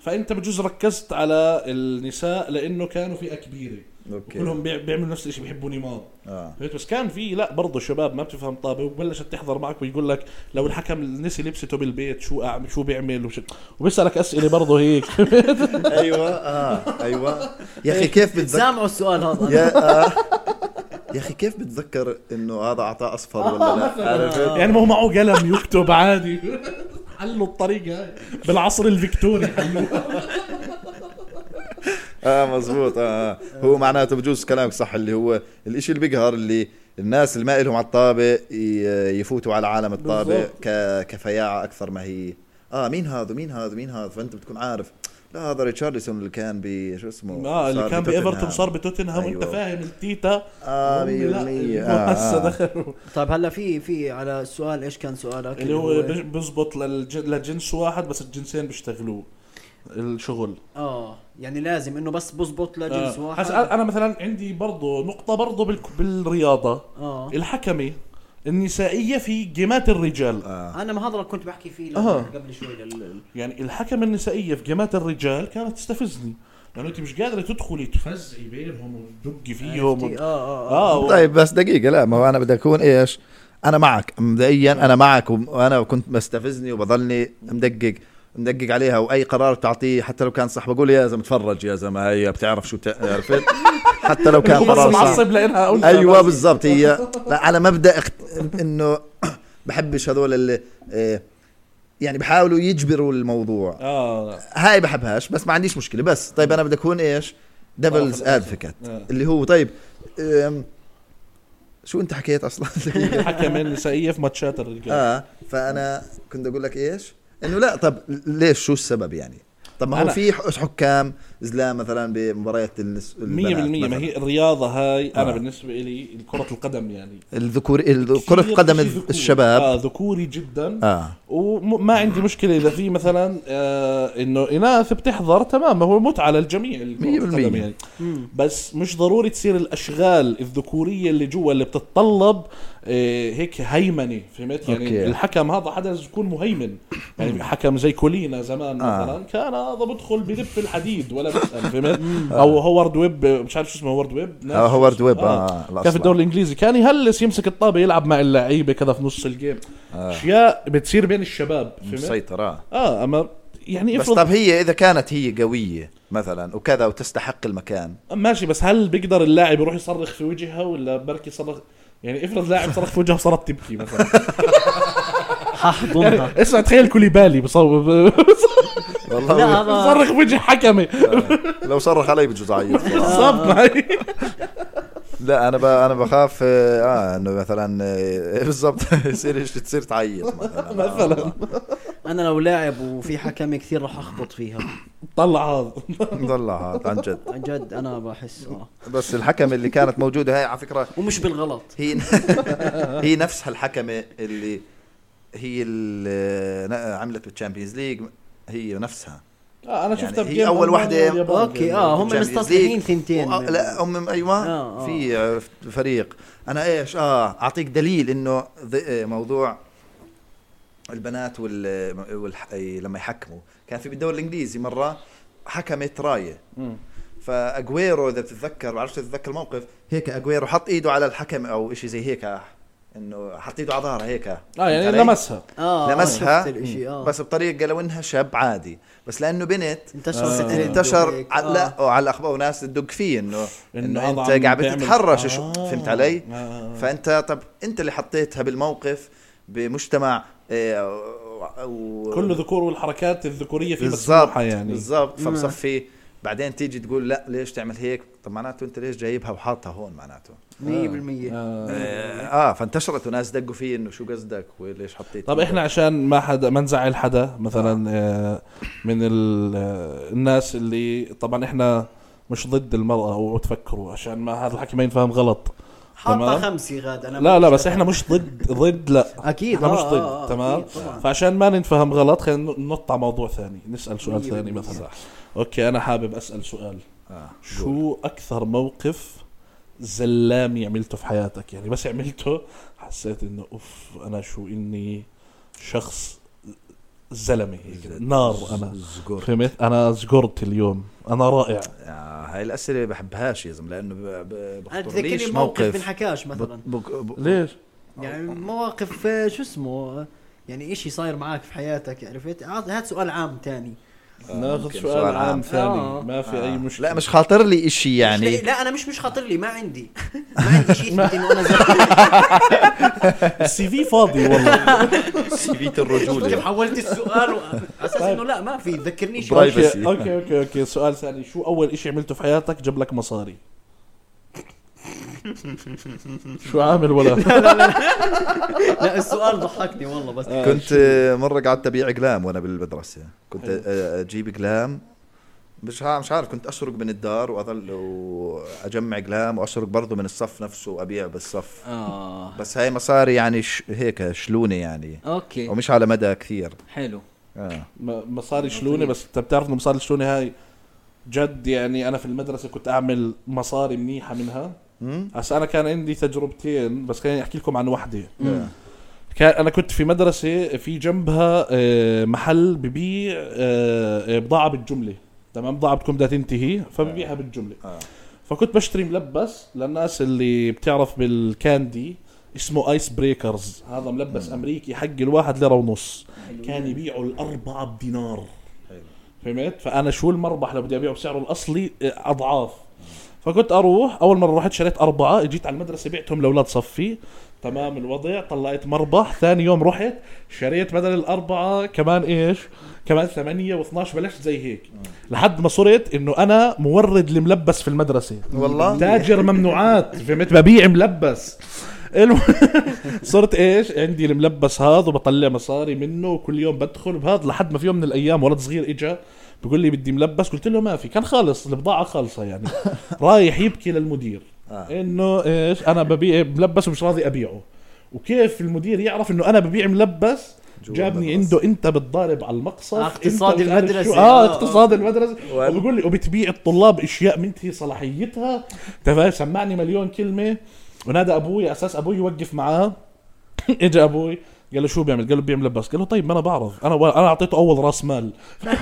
S1: فانت بجوز ركزت على النساء لانه كانوا فئه كبيره
S2: اوكي
S3: نعم.
S1: كلهم بيع- بيعملوا نفس الشيء بيحبوا نيمار
S2: اه
S1: فهمت بس كان في لا برضه شباب ما بتفهم طابه وبلشت تحضر معك ويقول لك لو الحكم نسي لبسته بالبيت شو اعمل شو بيعمل وش وبيسالك اسئله برضه هيك
S2: آه. ايوه اه ايوه يا اخي كيف بتذكر
S3: سامعوا السؤال هذا
S2: يا آه. يا اخي كيف بتذكر انه هذا اعطاه اصفر ولا لا عرفت
S1: يعني ما هو معه قلم يكتب عادي حلوا الطريقه هاي. بالعصر الفيكتوري آه، حلوها
S2: اه مزبوط آه. آه. هو معناته بجوز كلامك صح اللي هو الاشي اللي بيقهر اللي الناس اللي ما لهم على الطابة ي- يفوتوا على عالم الطابة
S1: بالضبط.
S2: ك... كفياعة أكثر ما هي اه مين هذا مين هذا مين هذا فأنت بتكون عارف لا هذا ريتشاردسون اللي كان ب شو اسمه
S1: اه اللي
S2: صار
S1: كان
S2: بتوتنهام.
S1: بايفرتون صار بتوتنهام وانت
S2: أيوة.
S1: فاهم التيتا
S2: اه 100%
S1: هم لا، هم
S2: آه.
S1: هسه
S2: آه.
S1: دخلوا
S4: طيب هلا في في على السؤال ايش كان سؤالك
S1: اللي هو بيج- بيزبط للج- لجنس واحد بس الجنسين بيشتغلوه الشغل
S3: اه يعني لازم انه بس بزبط لجنس
S1: آه. هسا
S3: واحد
S1: انا مثلا عندي برضه نقطه برضه بالك- بالرياضه
S3: اه
S1: الحكمه النسائيه في جيمات الرجال
S2: آه.
S3: انا ما هذا كنت بحكي فيه لما-
S1: آه.
S3: قبل شوي لل-
S1: يعني الحكمة النسائية في جامات الرجال كانت تستفزني لأنه أنت مش قادرة تدخلي تفزعي بينهم وتدقي فيهم و...
S3: عرفتي؟ اه اه
S1: آه و...
S2: طيب بس دقيقة لا ما هو أنا بدي أكون إيش أنا معك مبدئيا أنا معك وم- وأنا كنت مستفزني وبضلني مدقق مدقق عليها واي قرار بتعطيه حتى لو كان صح بقول يا زلمه تفرج يا زلمه هي بتعرف شو بتع- عرفت حتى لو كان
S1: هو بس
S2: قرار صح
S1: معصب لأنها أنثى
S2: ايوه
S1: بس.
S2: بالضبط هي لا على مبدا اخت... انه بحبش هذول اللي إيه، يعني بحاولوا يجبروا الموضوع
S1: آه
S2: هاي بحبهاش بس ما عنديش مشكله بس طيب انا بدي اكون ايش دبلز ادفوكيت
S1: آه.
S2: اللي هو طيب أم، شو انت حكيت اصلا
S1: الحكمة النسائية في ماتشات الرجال آه.
S2: اه فانا كنت اقول لك ايش انه لا طب ليش شو السبب يعني طب ما هو
S1: أنا-
S2: في ح- حكام زلام مثلا بمباريات النس...
S1: 100%
S2: البنات
S1: ما
S2: مثلاً.
S1: هي الرياضة هاي أنا
S2: آه.
S1: بالنسبة لي كرة القدم يعني
S2: الذكور ال-
S1: كثير
S2: كرة قدم
S1: إشي ذكوري.
S2: الشباب
S1: آه ذكوري جدا
S2: اه
S1: وما عندي مشكلة إذا في مثلا آه إنه إناث بتحضر تمام هو متعة للجميع الكرة
S2: 100%.
S1: القدم يعني بس مش ضروري تصير الاشغال الذكوريه اللي جوا اللي بتتطلب آه، هيك هيمنه فهمت يعني
S2: أوكي.
S1: أوكي. الحكم هذا حدا لازم يكون مهيمن يعني حكم زي كولينا زمان
S2: آه.
S1: آه. مثلا كان هذا بدخل بدب الحديد ولا بيسال فهمت او هوارد ويب مش عارف شو اسمه هوارد ويب ناس-
S2: آه، هوارد ويب، آه،
S1: كان
S2: الأصلع.
S1: في الدوري الانجليزي كان يهلس يمسك الطابه يلعب مع اللعيبه كذا في نص الجيم
S2: آه.
S1: اشياء بتصير بين الشباب فهمت
S2: مسيطرة
S1: اه اما يعني
S2: بس
S1: افرض
S2: طب هي اذا كانت هي قوية مثلا وكذا وتستحق المكان
S1: ماشي بس هل بيقدر اللاعب يروح يصرخ في وجهها ولا بركي صرخ يعني افرض لاعب صرخ في وجهها وصارت تبكي مثلا
S4: آه،
S3: ححضنها
S1: اسمع تخيل كوليبالي بصور
S2: والله
S3: آه.
S1: صرخ في وجه حكمي
S2: آه. لو صرخ علي بجوز اعيط
S1: بالضبط هاي.
S2: لا انا ب... انا بخاف اه آه، انه مثلا آه، بالضبط يصير إيش- تصير تعيط مثلا
S1: مثلا
S3: انا لو لاعب وفي حكم كثير راح اخبط فيها
S1: طلع هذا
S2: مطلعها عن جد
S3: عن جد انا بحس
S4: آه.
S3: اه
S2: بس الحكم اللي كانت موجودة هاي على فكرة
S3: ومش بالغلط
S2: هي هي نفسها الحكمة اللي هي اللي عملت بالتشامبيونز ليج هي نفسها
S1: آه انا شفتها
S2: يعني هي
S1: بجيم
S2: أول وحدة-
S1: ألمانيا واليابان.
S3: اوكي
S4: آه،
S3: اه هم
S2: Champions
S3: مستصلحين
S2: League.
S3: ثنتين
S2: وأ- لا امم ايوه
S3: آه، آه.
S2: في آه، فريق انا ايش اه اعطيك دليل انه ذ- آه، موضوع البنات وال, وال... لما يحكموا كان في بالدوري الانجليزي مره حكمت رايه
S1: مم.
S2: فاجويرو اذا بتتذكر بعرفش تتذكر الموقف هيك اجويرو حط ايده على الحكم او شيء زي هيك انه حط ايده على ظهرها هيك
S1: اه
S2: فهمت
S1: يعني
S2: علي؟
S1: لمسها
S4: آه،
S3: اه
S2: لمسها
S3: شفت الاشي اه
S2: بس بطريقه لو انها شاب عادي بس لانه بنت
S3: انتشر
S1: آه.
S3: سترينج
S2: يعني انتشر
S3: وهيك.
S2: على لا وعلى الاخبار وناس تدق فيه انه انه
S1: هذا
S2: انت
S1: عم
S2: قاعد
S1: بيعمل-
S2: بتتحرش شو
S1: آه.
S2: فهمت علي؟
S1: آه.
S2: فانت طب انت اللي حطيتها بالموقف بمجتمع آه، و- و-
S1: كل ذكور والحركات الذكوريه في
S2: بالظبط
S1: مسموحه يعني
S2: بالظبط
S3: مم.
S2: فبصفي بعدين تيجي تقول لا ليش تعمل هيك؟ طب معناته انت ليش جايبها وحاطها هون معناته؟
S3: 100%
S1: آه.
S2: آه, اه فانتشرت وناس دقوا فيه انه شو قصدك وليش حطيت
S1: طب احنا عشان ما حدا ما نزعل حدا مثلا آه، من ال- آه، الناس اللي طبعا احنا مش ضد المرأة او تفكروا عشان ما هذا الحكي ما ينفهم غلط
S3: حاطه
S1: تمام.
S3: خمسه غاد انا
S1: لا لا بس احنا مش ضد ضد لا
S3: اكيد
S1: احنا
S3: آه،
S1: مش
S3: آه،
S1: ضد
S3: آه،
S1: تمام
S3: أكيد طبعاً.
S1: فعشان ما ننفهم غلط خلينا ننط على موضوع ثاني نسأل سؤال
S3: مية
S1: ثاني
S3: بالمية.
S1: مثلا اوكي انا حابب اسأل سؤال
S2: آه.
S1: شو اكثر موقف زلامي عملته في حياتك يعني بس عملته حسيت انه اوف انا شو اني شخص زلمه هيك نار انا
S2: زقور.
S1: فهمت انا زقرت اليوم انا رائع
S2: آه، هاي الاسئله ما بحبهاش يا زلمه لانه ب- ب-
S4: انا
S2: بخطر ليش
S4: تذكرني موقف
S2: موقف
S4: بنحكاش مثلا
S2: ب- بك- ب-
S1: ليش
S4: يعني مواقف آه، شو اسمه آه، يعني اشي صاير معك في حياتك عرفت عط- هات سؤال عام تاني
S1: ناخذ
S2: ممكن.
S1: سؤال
S2: سؤال
S1: عام
S2: عام.
S1: ثاني
S4: آه.
S1: ما في اي مشكله
S2: لا مش خاطر لي اشي
S4: يعني
S2: يعني
S4: لا انا مش مش خاطر لي ما عندي ما عندي شيء يثبت انه انا زلمه
S1: السي في فاضي والله
S2: سيفية
S4: كيف
S2: الرجوله
S4: حولت السؤال على اساس
S2: طيب.
S4: انه لا ما في ذكرنيش
S2: برايفت.
S1: اوكي
S2: Privacy.
S1: اوكي اوكي اوكي سؤال ثاني شو اول اشي عملته في حياتك جاب لك مصاري شو عامل ولا
S4: لا السؤال ضحكني والله بس
S2: كنت آه، مره قعدت ابيع اقلام وانا بالمدرسه كنت
S1: حلو.
S2: آه، اجيب اقلام مش ها- مش عارف كنت اشرق من الدار واظل واجمع اقلام واشرق برضه من الصف نفسه وابيع بالصف
S3: اه
S4: آه،
S2: بس هاي مصاري يعني ش... هيك شلونه يعني
S3: اوكي
S2: ومش على مدى كثير
S3: حلو
S2: آه.
S1: م- مصاري شلونه بس انت بتعرف انه مصاري شلونه هاي جد يعني انا في المدرسه كنت اعمل مصاري منيحه منها
S2: مم؟
S1: هسا انا كان عندي تجربتين بس خليني احكي لكم عن وحده
S2: آه.
S1: كان انا كنت في مدرسه في جنبها آه، محل ببيع آه، بضاعه بالجمله تمام بضاعه بتكون بدها تنتهي فببيعها بالجمله
S2: آه.
S1: فكنت بشتري ملبس للناس اللي بتعرف بالكاندي اسمه ايس بريكرز هذا ملبس امريكي حق الواحد ليره ونص كان يبيعه الاربعه بدينار فهمت فانا شو المربح لو بدي ابيعه بسعره الاصلي آه، اضعاف فكنت اروح اول مره رحت شريت اربعه اجيت على المدرسه بعتهم لاولاد صفي تمام الوضع طلعت مربح ثاني يوم رحت شريت بدل الاربعه كمان ايش كمان ثمانية و12 بلشت زي هيك لحد ما صرت انه انا مورد الملبس في المدرسه
S2: والله؟
S1: تاجر ممنوعات فهمت ببيع ملبس الم... صرت ايش عندي الملبس هذا وبطلع مصاري منه وكل يوم بدخل بهذا لحد ما في يوم من الايام ولد صغير اجى بقول لي بدي ملبس قلت له ما في كان خالص البضاعه خالصه يعني رايح يبكي للمدير
S2: آه.
S1: انه ايش انا ببيع ملبس ومش راضي ابيعه وكيف المدير يعرف انه انا ببيع ملبس
S2: جوا
S1: جابني
S2: المدرسة.
S1: عنده انت بتضارب على المقصف
S4: آه، اقتصاد
S1: أنت مش عارف شو.
S4: المدرسة.
S1: اه
S4: آه،
S1: اقتصاد المدرسه
S2: وأنا-
S1: وبقول لي وبتبيع الطلاب اشياء منتهي صلاحيتها أنت فاهم سمعني مليون كلمه ونادى ابوي اساس ابوي يوقف معاه اجى ابوي قال له شو بيعمل؟ قال له بيعمل لباس، قال له طيب ما انا بعرف انا انا اعطيته اول راس مال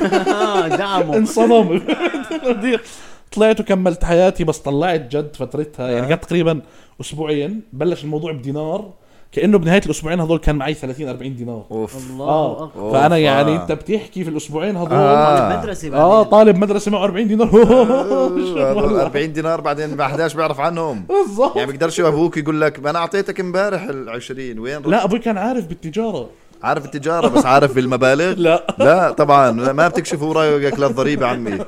S4: اه دعمه
S1: انصدم المدير. طلعت وكملت حياتي بس طلعت جد فترتها يعني كانت تقريبا اسبوعين بلش الموضوع بدينار كانه بنهايه الاسبوعين هذول كان معي 30 40 دينار
S2: اوف
S4: الله
S1: اه
S4: أكبر.
S2: أوه.
S1: فانا يعني
S2: أوف.
S1: انت بتحكي في الاسبوعين هذول
S2: آه.
S1: اه,
S4: طالب مدرسه
S1: آه
S4: بعدين.
S1: طالب مدرسه معه 40 دينار شو
S2: هذول
S1: والله.
S2: 40 دينار بعدين ما حداش بيعرف عنهم
S1: بالظبط
S2: يعني بيقدرش ابوك يقول لك ما انا اعطيتك امبارح ال 20 وين رحت؟
S1: لا ابوي كان عارف بالتجاره
S2: عارف التجاره بس عارف بالمبالغ
S1: لا
S2: لا طبعا لا، ما بتكشف هو رايك للضريبه عمي
S1: لا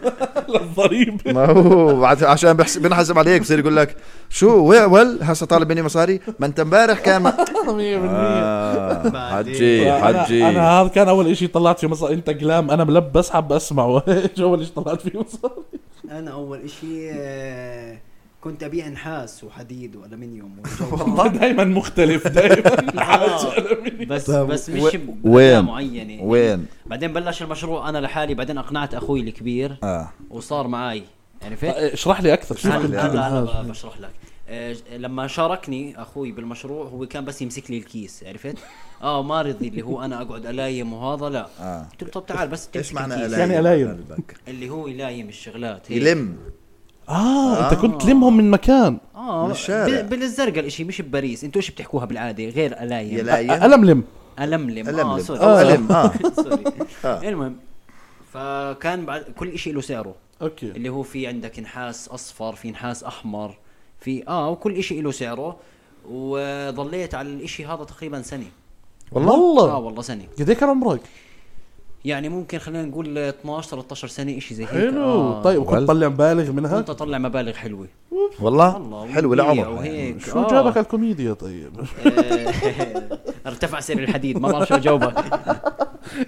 S1: الضريب
S2: ما هو عش- عشان بحس- بنحسب عليك بصير يقول لك شو وي- ول هسه طالب مني مصاري ما انت امبارح كان ما...
S1: 100%
S2: آه
S4: بعدين.
S2: حجي
S1: انا
S2: حجي
S1: انا هذا كان اول شيء طلعت فيه مصاري انت قلام انا ملبس حاب اسمعه ايش اول شيء طلعت فيه مصاري
S4: انا اول اشي آه، كنت ابيع نحاس وحديد آه، والمنيوم
S1: دائما مختلف دائما آه.
S3: بس
S2: طب
S3: بس
S2: طيب، و-
S3: مش
S2: وين؟
S3: بطريقه معينه
S2: وين؟
S3: بعدين بلش المشروع انا لحالي بعدين اقنعت اخوي الكبير
S2: اه
S3: وصار معي
S4: يعني
S3: عرفت؟
S1: اشرح لي اكثر شو
S3: هلا
S1: كنت تجيب
S3: هلا
S1: الهاج؟
S3: هلا بشرح لك آه، ج- لما شاركني اخوي بالمشروع هو كان بس يمسك لي الكيس عرفت؟ اه ما رضي اللي هو انا اقعد الايم وهذا لا
S2: اه
S3: قلت له طب تعال بس
S2: ايش
S3: تمسك
S2: معنى
S3: الكيس
S2: الايم؟
S1: يعني ألايم.
S2: قلبك.
S3: اللي هو يلايم الشغلات هيك.
S2: يلم
S1: اه انت كنت
S3: آه.
S1: تلمهم من مكان
S3: اه
S2: بالشارع.
S3: بال- بالزرقاء الاشي مش بباريس انتوا ايش بتحكوها بالعاده غير الايم
S2: يلايم
S1: ألم لم
S3: الملم
S2: ألملم.
S3: اه سوري
S2: أو ألم، آه.
S3: سوري
S2: آه.
S3: المهم فكان بعد كل شيء له سعره
S1: اوكي
S3: اللي هو في عندك نحاس اصفر في نحاس احمر في اه وكل شيء له سعره وظليت على الاشي هذا تقريبا سنه اه
S1: والله
S3: والله سنه
S1: قد ايه كان عمرك؟
S3: يعني ممكن خلينا نقول 12 13 سنه اشي زي هيك
S1: حلو
S3: آه.
S1: طيب وكنت
S2: والله.
S1: تطلع مبالغ منها؟
S3: كنت اطلع مبالغ حلوه
S2: والله
S3: والله
S2: حلو
S3: وبيع
S2: لعمرها يعني.
S3: وهيك
S1: شو
S3: آه.
S1: جابك على الكوميديا طيب؟
S3: آه. ارتفع سعر الحديد ما بعرف شو اجاوبك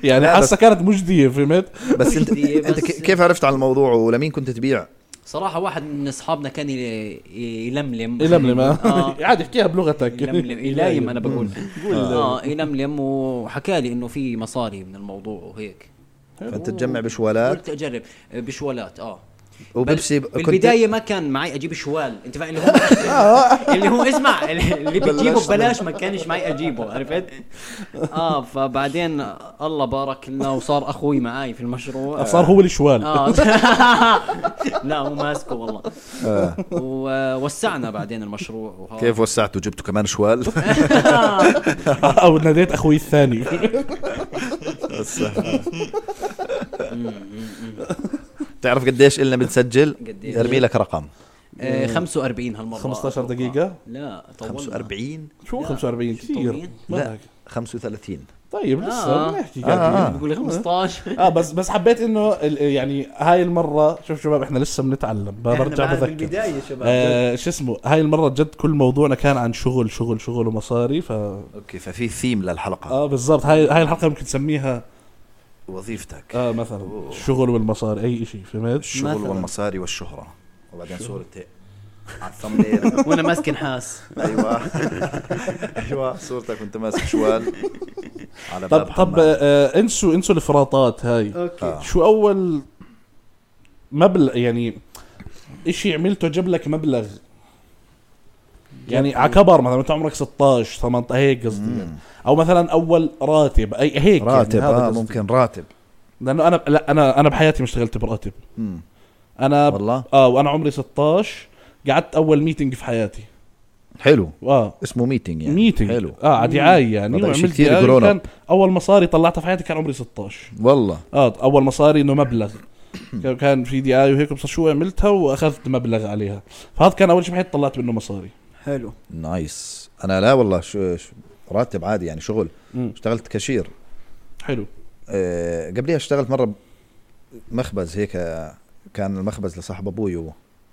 S1: يعني
S2: لا، بس-
S1: حاسه كانت مجديه فهمت؟
S2: بس انت
S3: بدي-
S2: انت
S3: بس-
S2: كي- كيف عرفت على الموضوع ولمين كنت تبيع؟
S3: صراحة واحد من اصحابنا كان ي- يلملم
S1: يلملم آه.
S3: آه.
S1: عادي احكيها بلغتك
S3: يلملم يلايم انا بقول
S1: قول.
S3: اه يلملم وحكى لي انه في مصاري من الموضوع وهيك
S2: فانت تجمع بشوالات
S3: قلت اجرب بشوالات اه
S2: وبيبسي كنت-
S3: بالبدايه ما كان معي اجيب شوال انت فاهم اللي هو اللي هو اسمع اللي بتجيبه
S2: بلشنا.
S3: ببلاش ما كانش معي اجيبه عرفت اه فبعدين الله بارك لنا وصار اخوي معي في المشروع
S1: آه، صار هو الشوال
S3: اه لا مو ماسكه والله
S2: آه.
S3: ووسعنا بعدين المشروع آه. وهذا.
S2: كيف وسعته جبته كمان شوال
S1: او ناديت اخوي الثاني
S2: تعرف قديش إلنا بنسجل
S3: قديش؟
S2: ارمي لك رقم
S3: آه، 45 هالمره
S1: 15 إيه. دقيقة؟
S3: لا طولنا
S2: 45
S1: شو
S3: لا.
S1: 45
S3: شو
S1: كثير
S3: طويل؟
S1: ما
S2: لا.
S1: هيك.
S2: 35
S1: طيب لسه
S3: آه.
S1: بنحكي
S2: آه، آه.
S1: قاعدين.
S3: بقول طيب. لي 15
S1: اه بس بس حبيت انه ال- يعني هاي المره شوف شباب احنا لسه بنتعلم ب-
S4: إحنا
S1: برجع
S4: معنا
S1: بذكر
S4: بالبدايه شباب
S1: آه شو اسمه هاي المره جد كل موضوعنا كان عن شغل شغل شغل ومصاري ف
S2: اوكي ففي ثيم للحلقة
S3: آه.
S1: اه بالضبط هاي هاي الحلقه ممكن تسميها
S2: وظيفتك
S1: اه مثلا الشغل والمصاري اي شيء فهمت
S2: الشغل
S3: آه. مثلاً.
S2: والمصاري والشهرة وبعدين صورة هيك على الثمبنيل
S3: وانا ماسك نحاس
S2: ايوه ايوه صورتك وانت ماسك شوال على باب
S1: طب طب
S2: حمام.
S1: آه انسوا انسوا الافراطات هاي
S4: اوكي
S2: آه.
S1: شو اول مبلغ يعني اشي عملته جاب لك مبلغ يعني على كبر مثلا انت عمرك 16 18 هيك قصدي يعني. او مثلا اول راتب اي هيك
S2: راتب
S1: يعني هذا
S2: اه
S1: قصدي.
S2: ممكن راتب
S1: لانه انا لا انا انا بحياتي ما اشتغلت براتب
S2: مم.
S1: انا ب...
S2: والله
S1: اه وانا عمري 16 قعدت اول ميتنج في حياتي
S2: حلو
S1: اه
S2: اسمه ميتنج يعني
S1: ميتنج
S2: حلو
S1: اه على دعايه يعني
S2: هذا إشي
S1: وعملت
S2: كتير
S1: دعاية
S2: grown up.
S1: كان اول مصاري طلعتها في حياتي كان عمري 16
S2: والله
S1: اه اول مصاري انه مبلغ كان- كان في دعايه وهيك بس شو عملتها واخذت مبلغ عليها فهذا كان اول شيء بحياتي طلعت منه مصاري
S4: حلو
S2: نايس انا لا والله شو, شو راتب عادي يعني شغل
S1: مم.
S2: اشتغلت كاشير
S1: حلو
S2: أه قبليها اشتغلت مره مخبز هيك آه، كان المخبز لصاحب ابوي هو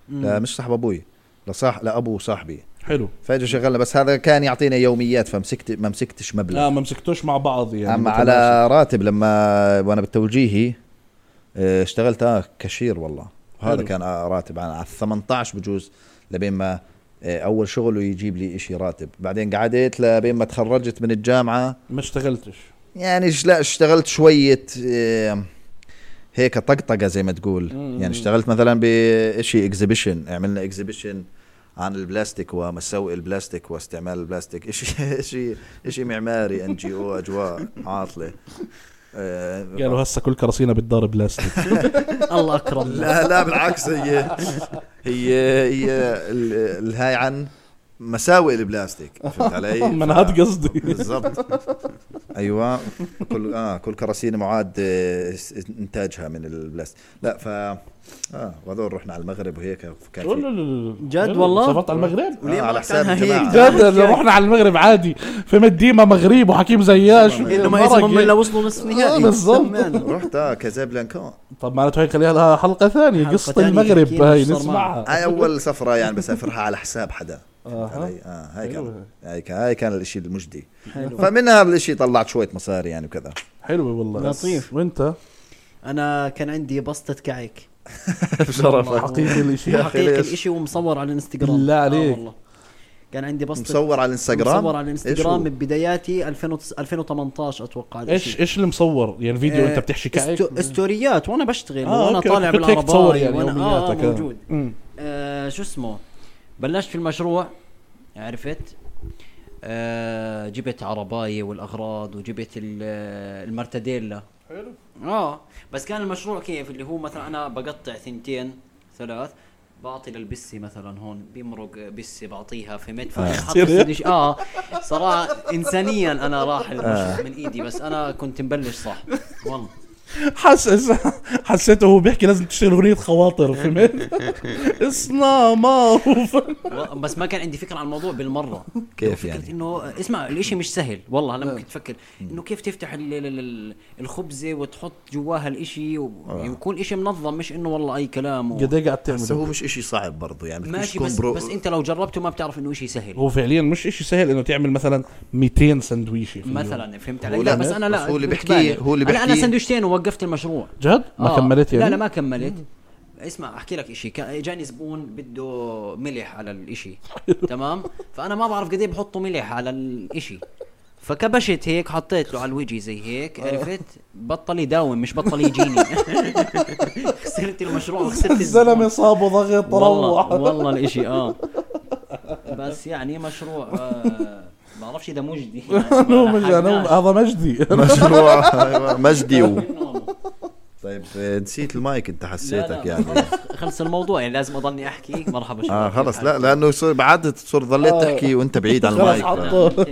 S2: لا مش صاحب ابوي لصاح لابو صاحبي
S1: حلو
S2: فاجا شغلنا بس هذا كان يعطينا يوميات فمسكت ما مسكتش مبلغ
S1: لا ما مسكتوش مع بعض يعني
S2: اما
S1: متناسق.
S2: على راتب لما وانا بالتوجيهي آه، اشتغلت آه كاشير والله وهذا
S1: حلو.
S2: كان آه راتب على على 18 بجوز لبين ما آه، اول شغله يجيب لي إشي راتب بعدين قعدت لبين ما تخرجت من الجامعه
S1: ما اشتغلتش
S2: يعني ش- لا اشتغلت شويه آه، هيك طقطقه زي ما تقول
S1: مم.
S2: يعني اشتغلت مثلا بشيء اكزيبيشن عملنا اكزيبيشن عن البلاستيك ومساوئ البلاستيك واستعمال البلاستيك شيء شيء شيء معماري ان جي او اجواء عاطله آه،
S1: قالوا هسه كل كراسينا بتضارب بلاستيك
S3: الله اكرم
S2: لا لا بالعكس هي هي هي ال- الهاي عن مساوئ البلاستيك فهمت علي؟
S1: ما انا هاد قصدي
S2: بالضبط ايوه كل اه كل كراسينا معاد آه، س- انتاجها من البلاست لا ف اه وهذول رحنا على المغرب وهيك كان في
S4: جد والله؟
S1: سافرت على المغرب
S2: آه على حساب
S4: عنها هيك؟
S2: الجماعه
S1: جد اللي رحنا على المغرب عادي في مديمة مغريب وحكيم زياش
S4: انه ما
S1: مرق
S4: اسمهم
S1: هيك.
S4: الا وصلوا نصف
S1: إيه، آه،
S4: نهائي
S1: بالضبط.
S4: سمان.
S2: رحت اه كازابلانكا
S1: طب معناته هي خليها لها حلقة ثانية
S4: حلقة
S1: قصة
S4: تانية
S1: المغرب
S4: تحكي لنا
S1: هاي
S4: شو صار
S1: نسمعها
S2: هاي اول سفره يعني بسافرها على حساب حدا فهمت
S1: أها.
S2: علي؟ اه هاي
S1: حلوة.
S2: كان هاي كان هاي كان الشيء المجدي فمنها الشيء طلعت شويه مصاري يعني وكذا
S1: حلوة والله
S4: لطيف.
S1: وانت
S4: انا كان عندي بسطه كعك
S2: بشرفك
S1: حقيقي الاشي
S4: حقيقي
S2: ليش؟
S4: الاشي ومصور على الانستغرام
S1: بالله عليك.
S4: والله. كان عندي بسطه
S2: مصور على الانستغرام
S4: مصور على الانستغرام
S2: إيش هو؟
S4: ببداياتي 2000 2018 اتوقع
S1: ايش ايش اللي مصور يعني فيديو
S3: إيه،
S4: آه،
S1: انت بتحشي كعك
S4: استو- ستوريات وانا بشتغل
S1: آه،
S4: وانا
S1: أوكي،
S4: طالع
S1: كنت هيك تصور
S4: بالعرباية
S1: يعني
S4: وانا آه
S1: يومياتك، آه.
S4: موجود
S1: مم.
S4: آه شو اسمه
S3: بلشت في المشروع عرفت آه جبت عرباية والأغراض وجبت ال- آه، المرتديلا
S1: حلو.
S3: اه بس كان المشروع كيف اللي هو مثلا أنا بقطع ثنتين ثلاث بعطي للبسي مثلا هون بيمرق بسي بعطيها فهمت
S2: آه.
S3: فحط
S1: سيريا؟
S3: السندويش- اه صراحة إنسانيا أنا
S2: آه.
S3: راح المشروع من إيدي بس أنا كنت مبلش صح والله
S1: حاسس حسيته هو بيحكي لازم تشتغل اغنية خواطر فهمت؟ اصنع معروف
S3: و- بس ما كان عندي فكره عن الموضوع بالمره
S2: كيف
S3: فكرة
S2: يعني؟ آه.
S3: انه اسمع الاشي مش سهل والله انا ممكن تفكر انه كيف تفتح ال- ال- ال- الخبزه وتحط جواها الاشي
S2: آه.
S3: ويكون اشي منظم مش انه والله اي كلام و...
S1: قد ايه قاعد
S2: بس
S1: تعمله
S2: هو مش اشي صعب برضو يعني بدكش
S3: ماشي
S2: تكون
S3: بس
S2: برو-
S3: بس انت لو جربته ما بتعرف انه اشي سهل
S1: هو فعليا مش اشي سهل انه تعمل مثلا 200 سندويشة في اليوم.
S3: مثلا فهمت علي
S2: هو
S3: لا
S2: لا،
S3: بس انا لا
S2: بس هو اللي
S3: كنت
S2: بيحكيه-
S3: بالغ.
S2: هو اللي
S3: انا انا
S2: بيحكيه.
S3: سندويشتين ووقفت المشروع
S1: جد؟ ما
S3: آه.
S1: كملت يعني؟
S3: لا لا ما كملت اسمع احكي لك اشي كان- جاني زبون إيه بده ملح على الاشي تمام فانا ما بعرف قد ايه بحطوا ملح على الاشي فكبشت هيك حطيت له على الوجه زي هيك
S1: آه.
S3: عرفت بطل يداوم مش بطل يجيني خسرت المشروع وخسرت
S1: الزلمه صابه ضغط
S3: والله
S1: روح
S3: والله الاشي اه بس يعني مشروع آه بعرفش اذا مجدي يعني
S1: أنا
S3: ما
S1: مج- أنا-
S3: لحقناش.
S1: هذا مجدي
S2: مشروع أيوة، مجدي و...
S3: والله.
S2: طيب آه، نسيت المايك انت
S3: لا،
S2: حسيتك
S3: لا.
S2: يعني
S3: خلص الموضوع يعني لازم اضلني احكي مرحبا شباب
S2: اه خلص لا لانه صار بعد صرت ظليت
S1: آه.
S2: تحكي وانت بعيد عن
S1: خلص
S2: المايك
S1: حط.
S2: آه.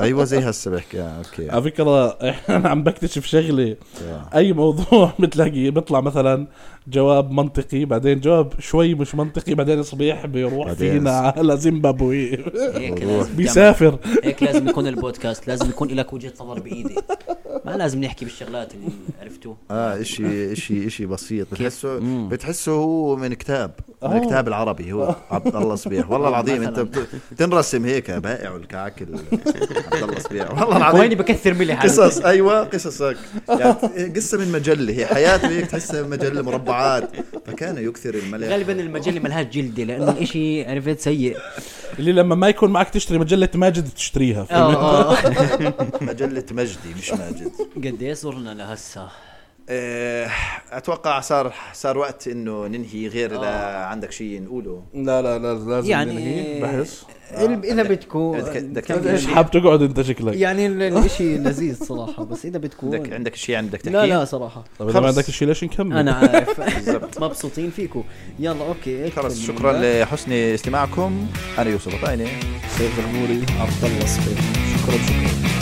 S2: ايوه زي هسه بحكي آه، اوكي
S1: على فكرة انا عم بكتشف شغلة
S2: آه.
S1: اي موضوع بتلاقيه بيطلع مثلا جواب منطقي بعدين جواب شوي مش منطقي بعدين صبيح بيروح
S2: بعدين
S1: فينا
S2: صبيح.
S1: على زيمبابوي
S3: هيك لازم تعمل-
S1: بيسافر
S3: هيك لازم يكون البودكاست لازم يكون لك وجهه نظر بايدي ما لازم نحكي بالشغلات اللي عرفتوا
S2: اه اشي اشي اشي بسيط بتحسه
S3: مم.
S2: بتحسه هو من كتاب
S1: آه.
S2: من كتاب العربي هو عبد الله صبيح والله العظيم انت بت- بتنرسم هيك بائع الكعك ال- عبد الله صبيح والله
S3: وهيني
S2: العظيم
S3: بكثر ملي حالي
S2: قصص ايوه قصصك يعني قصه من مجله هي حياته هيك تحسها من مجله مربعات فكان يكثر الملح
S3: غالبا المجله ملهاش جلده لانه الاشي عرفت سيء
S1: اللي لما ما يكون معك تشتري مجلة ماجد تشتريها فهمت؟
S3: اه آه.
S2: مجله مجدي مش ماجد
S3: قد ايه صرنا لهسه
S2: آه، اتوقع صار صار وقت انه ننهي غير اذا عندك شيء نقوله
S1: لا لا لا لازم
S3: يعني-
S1: ننهي، بحس
S4: اذا بدكم
S2: بدك- بدك
S4: كمل.
S1: ايش حاب تقعد انت شكلك
S4: يعني ال- الاشي لذيذ صراحه بس اذا بدكم
S2: عندك عندك شيء يعني بدك تحكيه
S4: لا لا صراحه
S1: طب اذا ما
S2: خلص.
S1: عندك شيء ليش نكمل
S3: انا عارف
S2: بالضبط
S4: مبسوطين فيكم يلا اوكي اقفل
S2: خلص
S4: من
S2: شكرا
S4: هناك.
S2: لحسن استماعكم انا يوسف عطاينه
S5: سيف الغموري عبد الله صبيح شكرا شكرا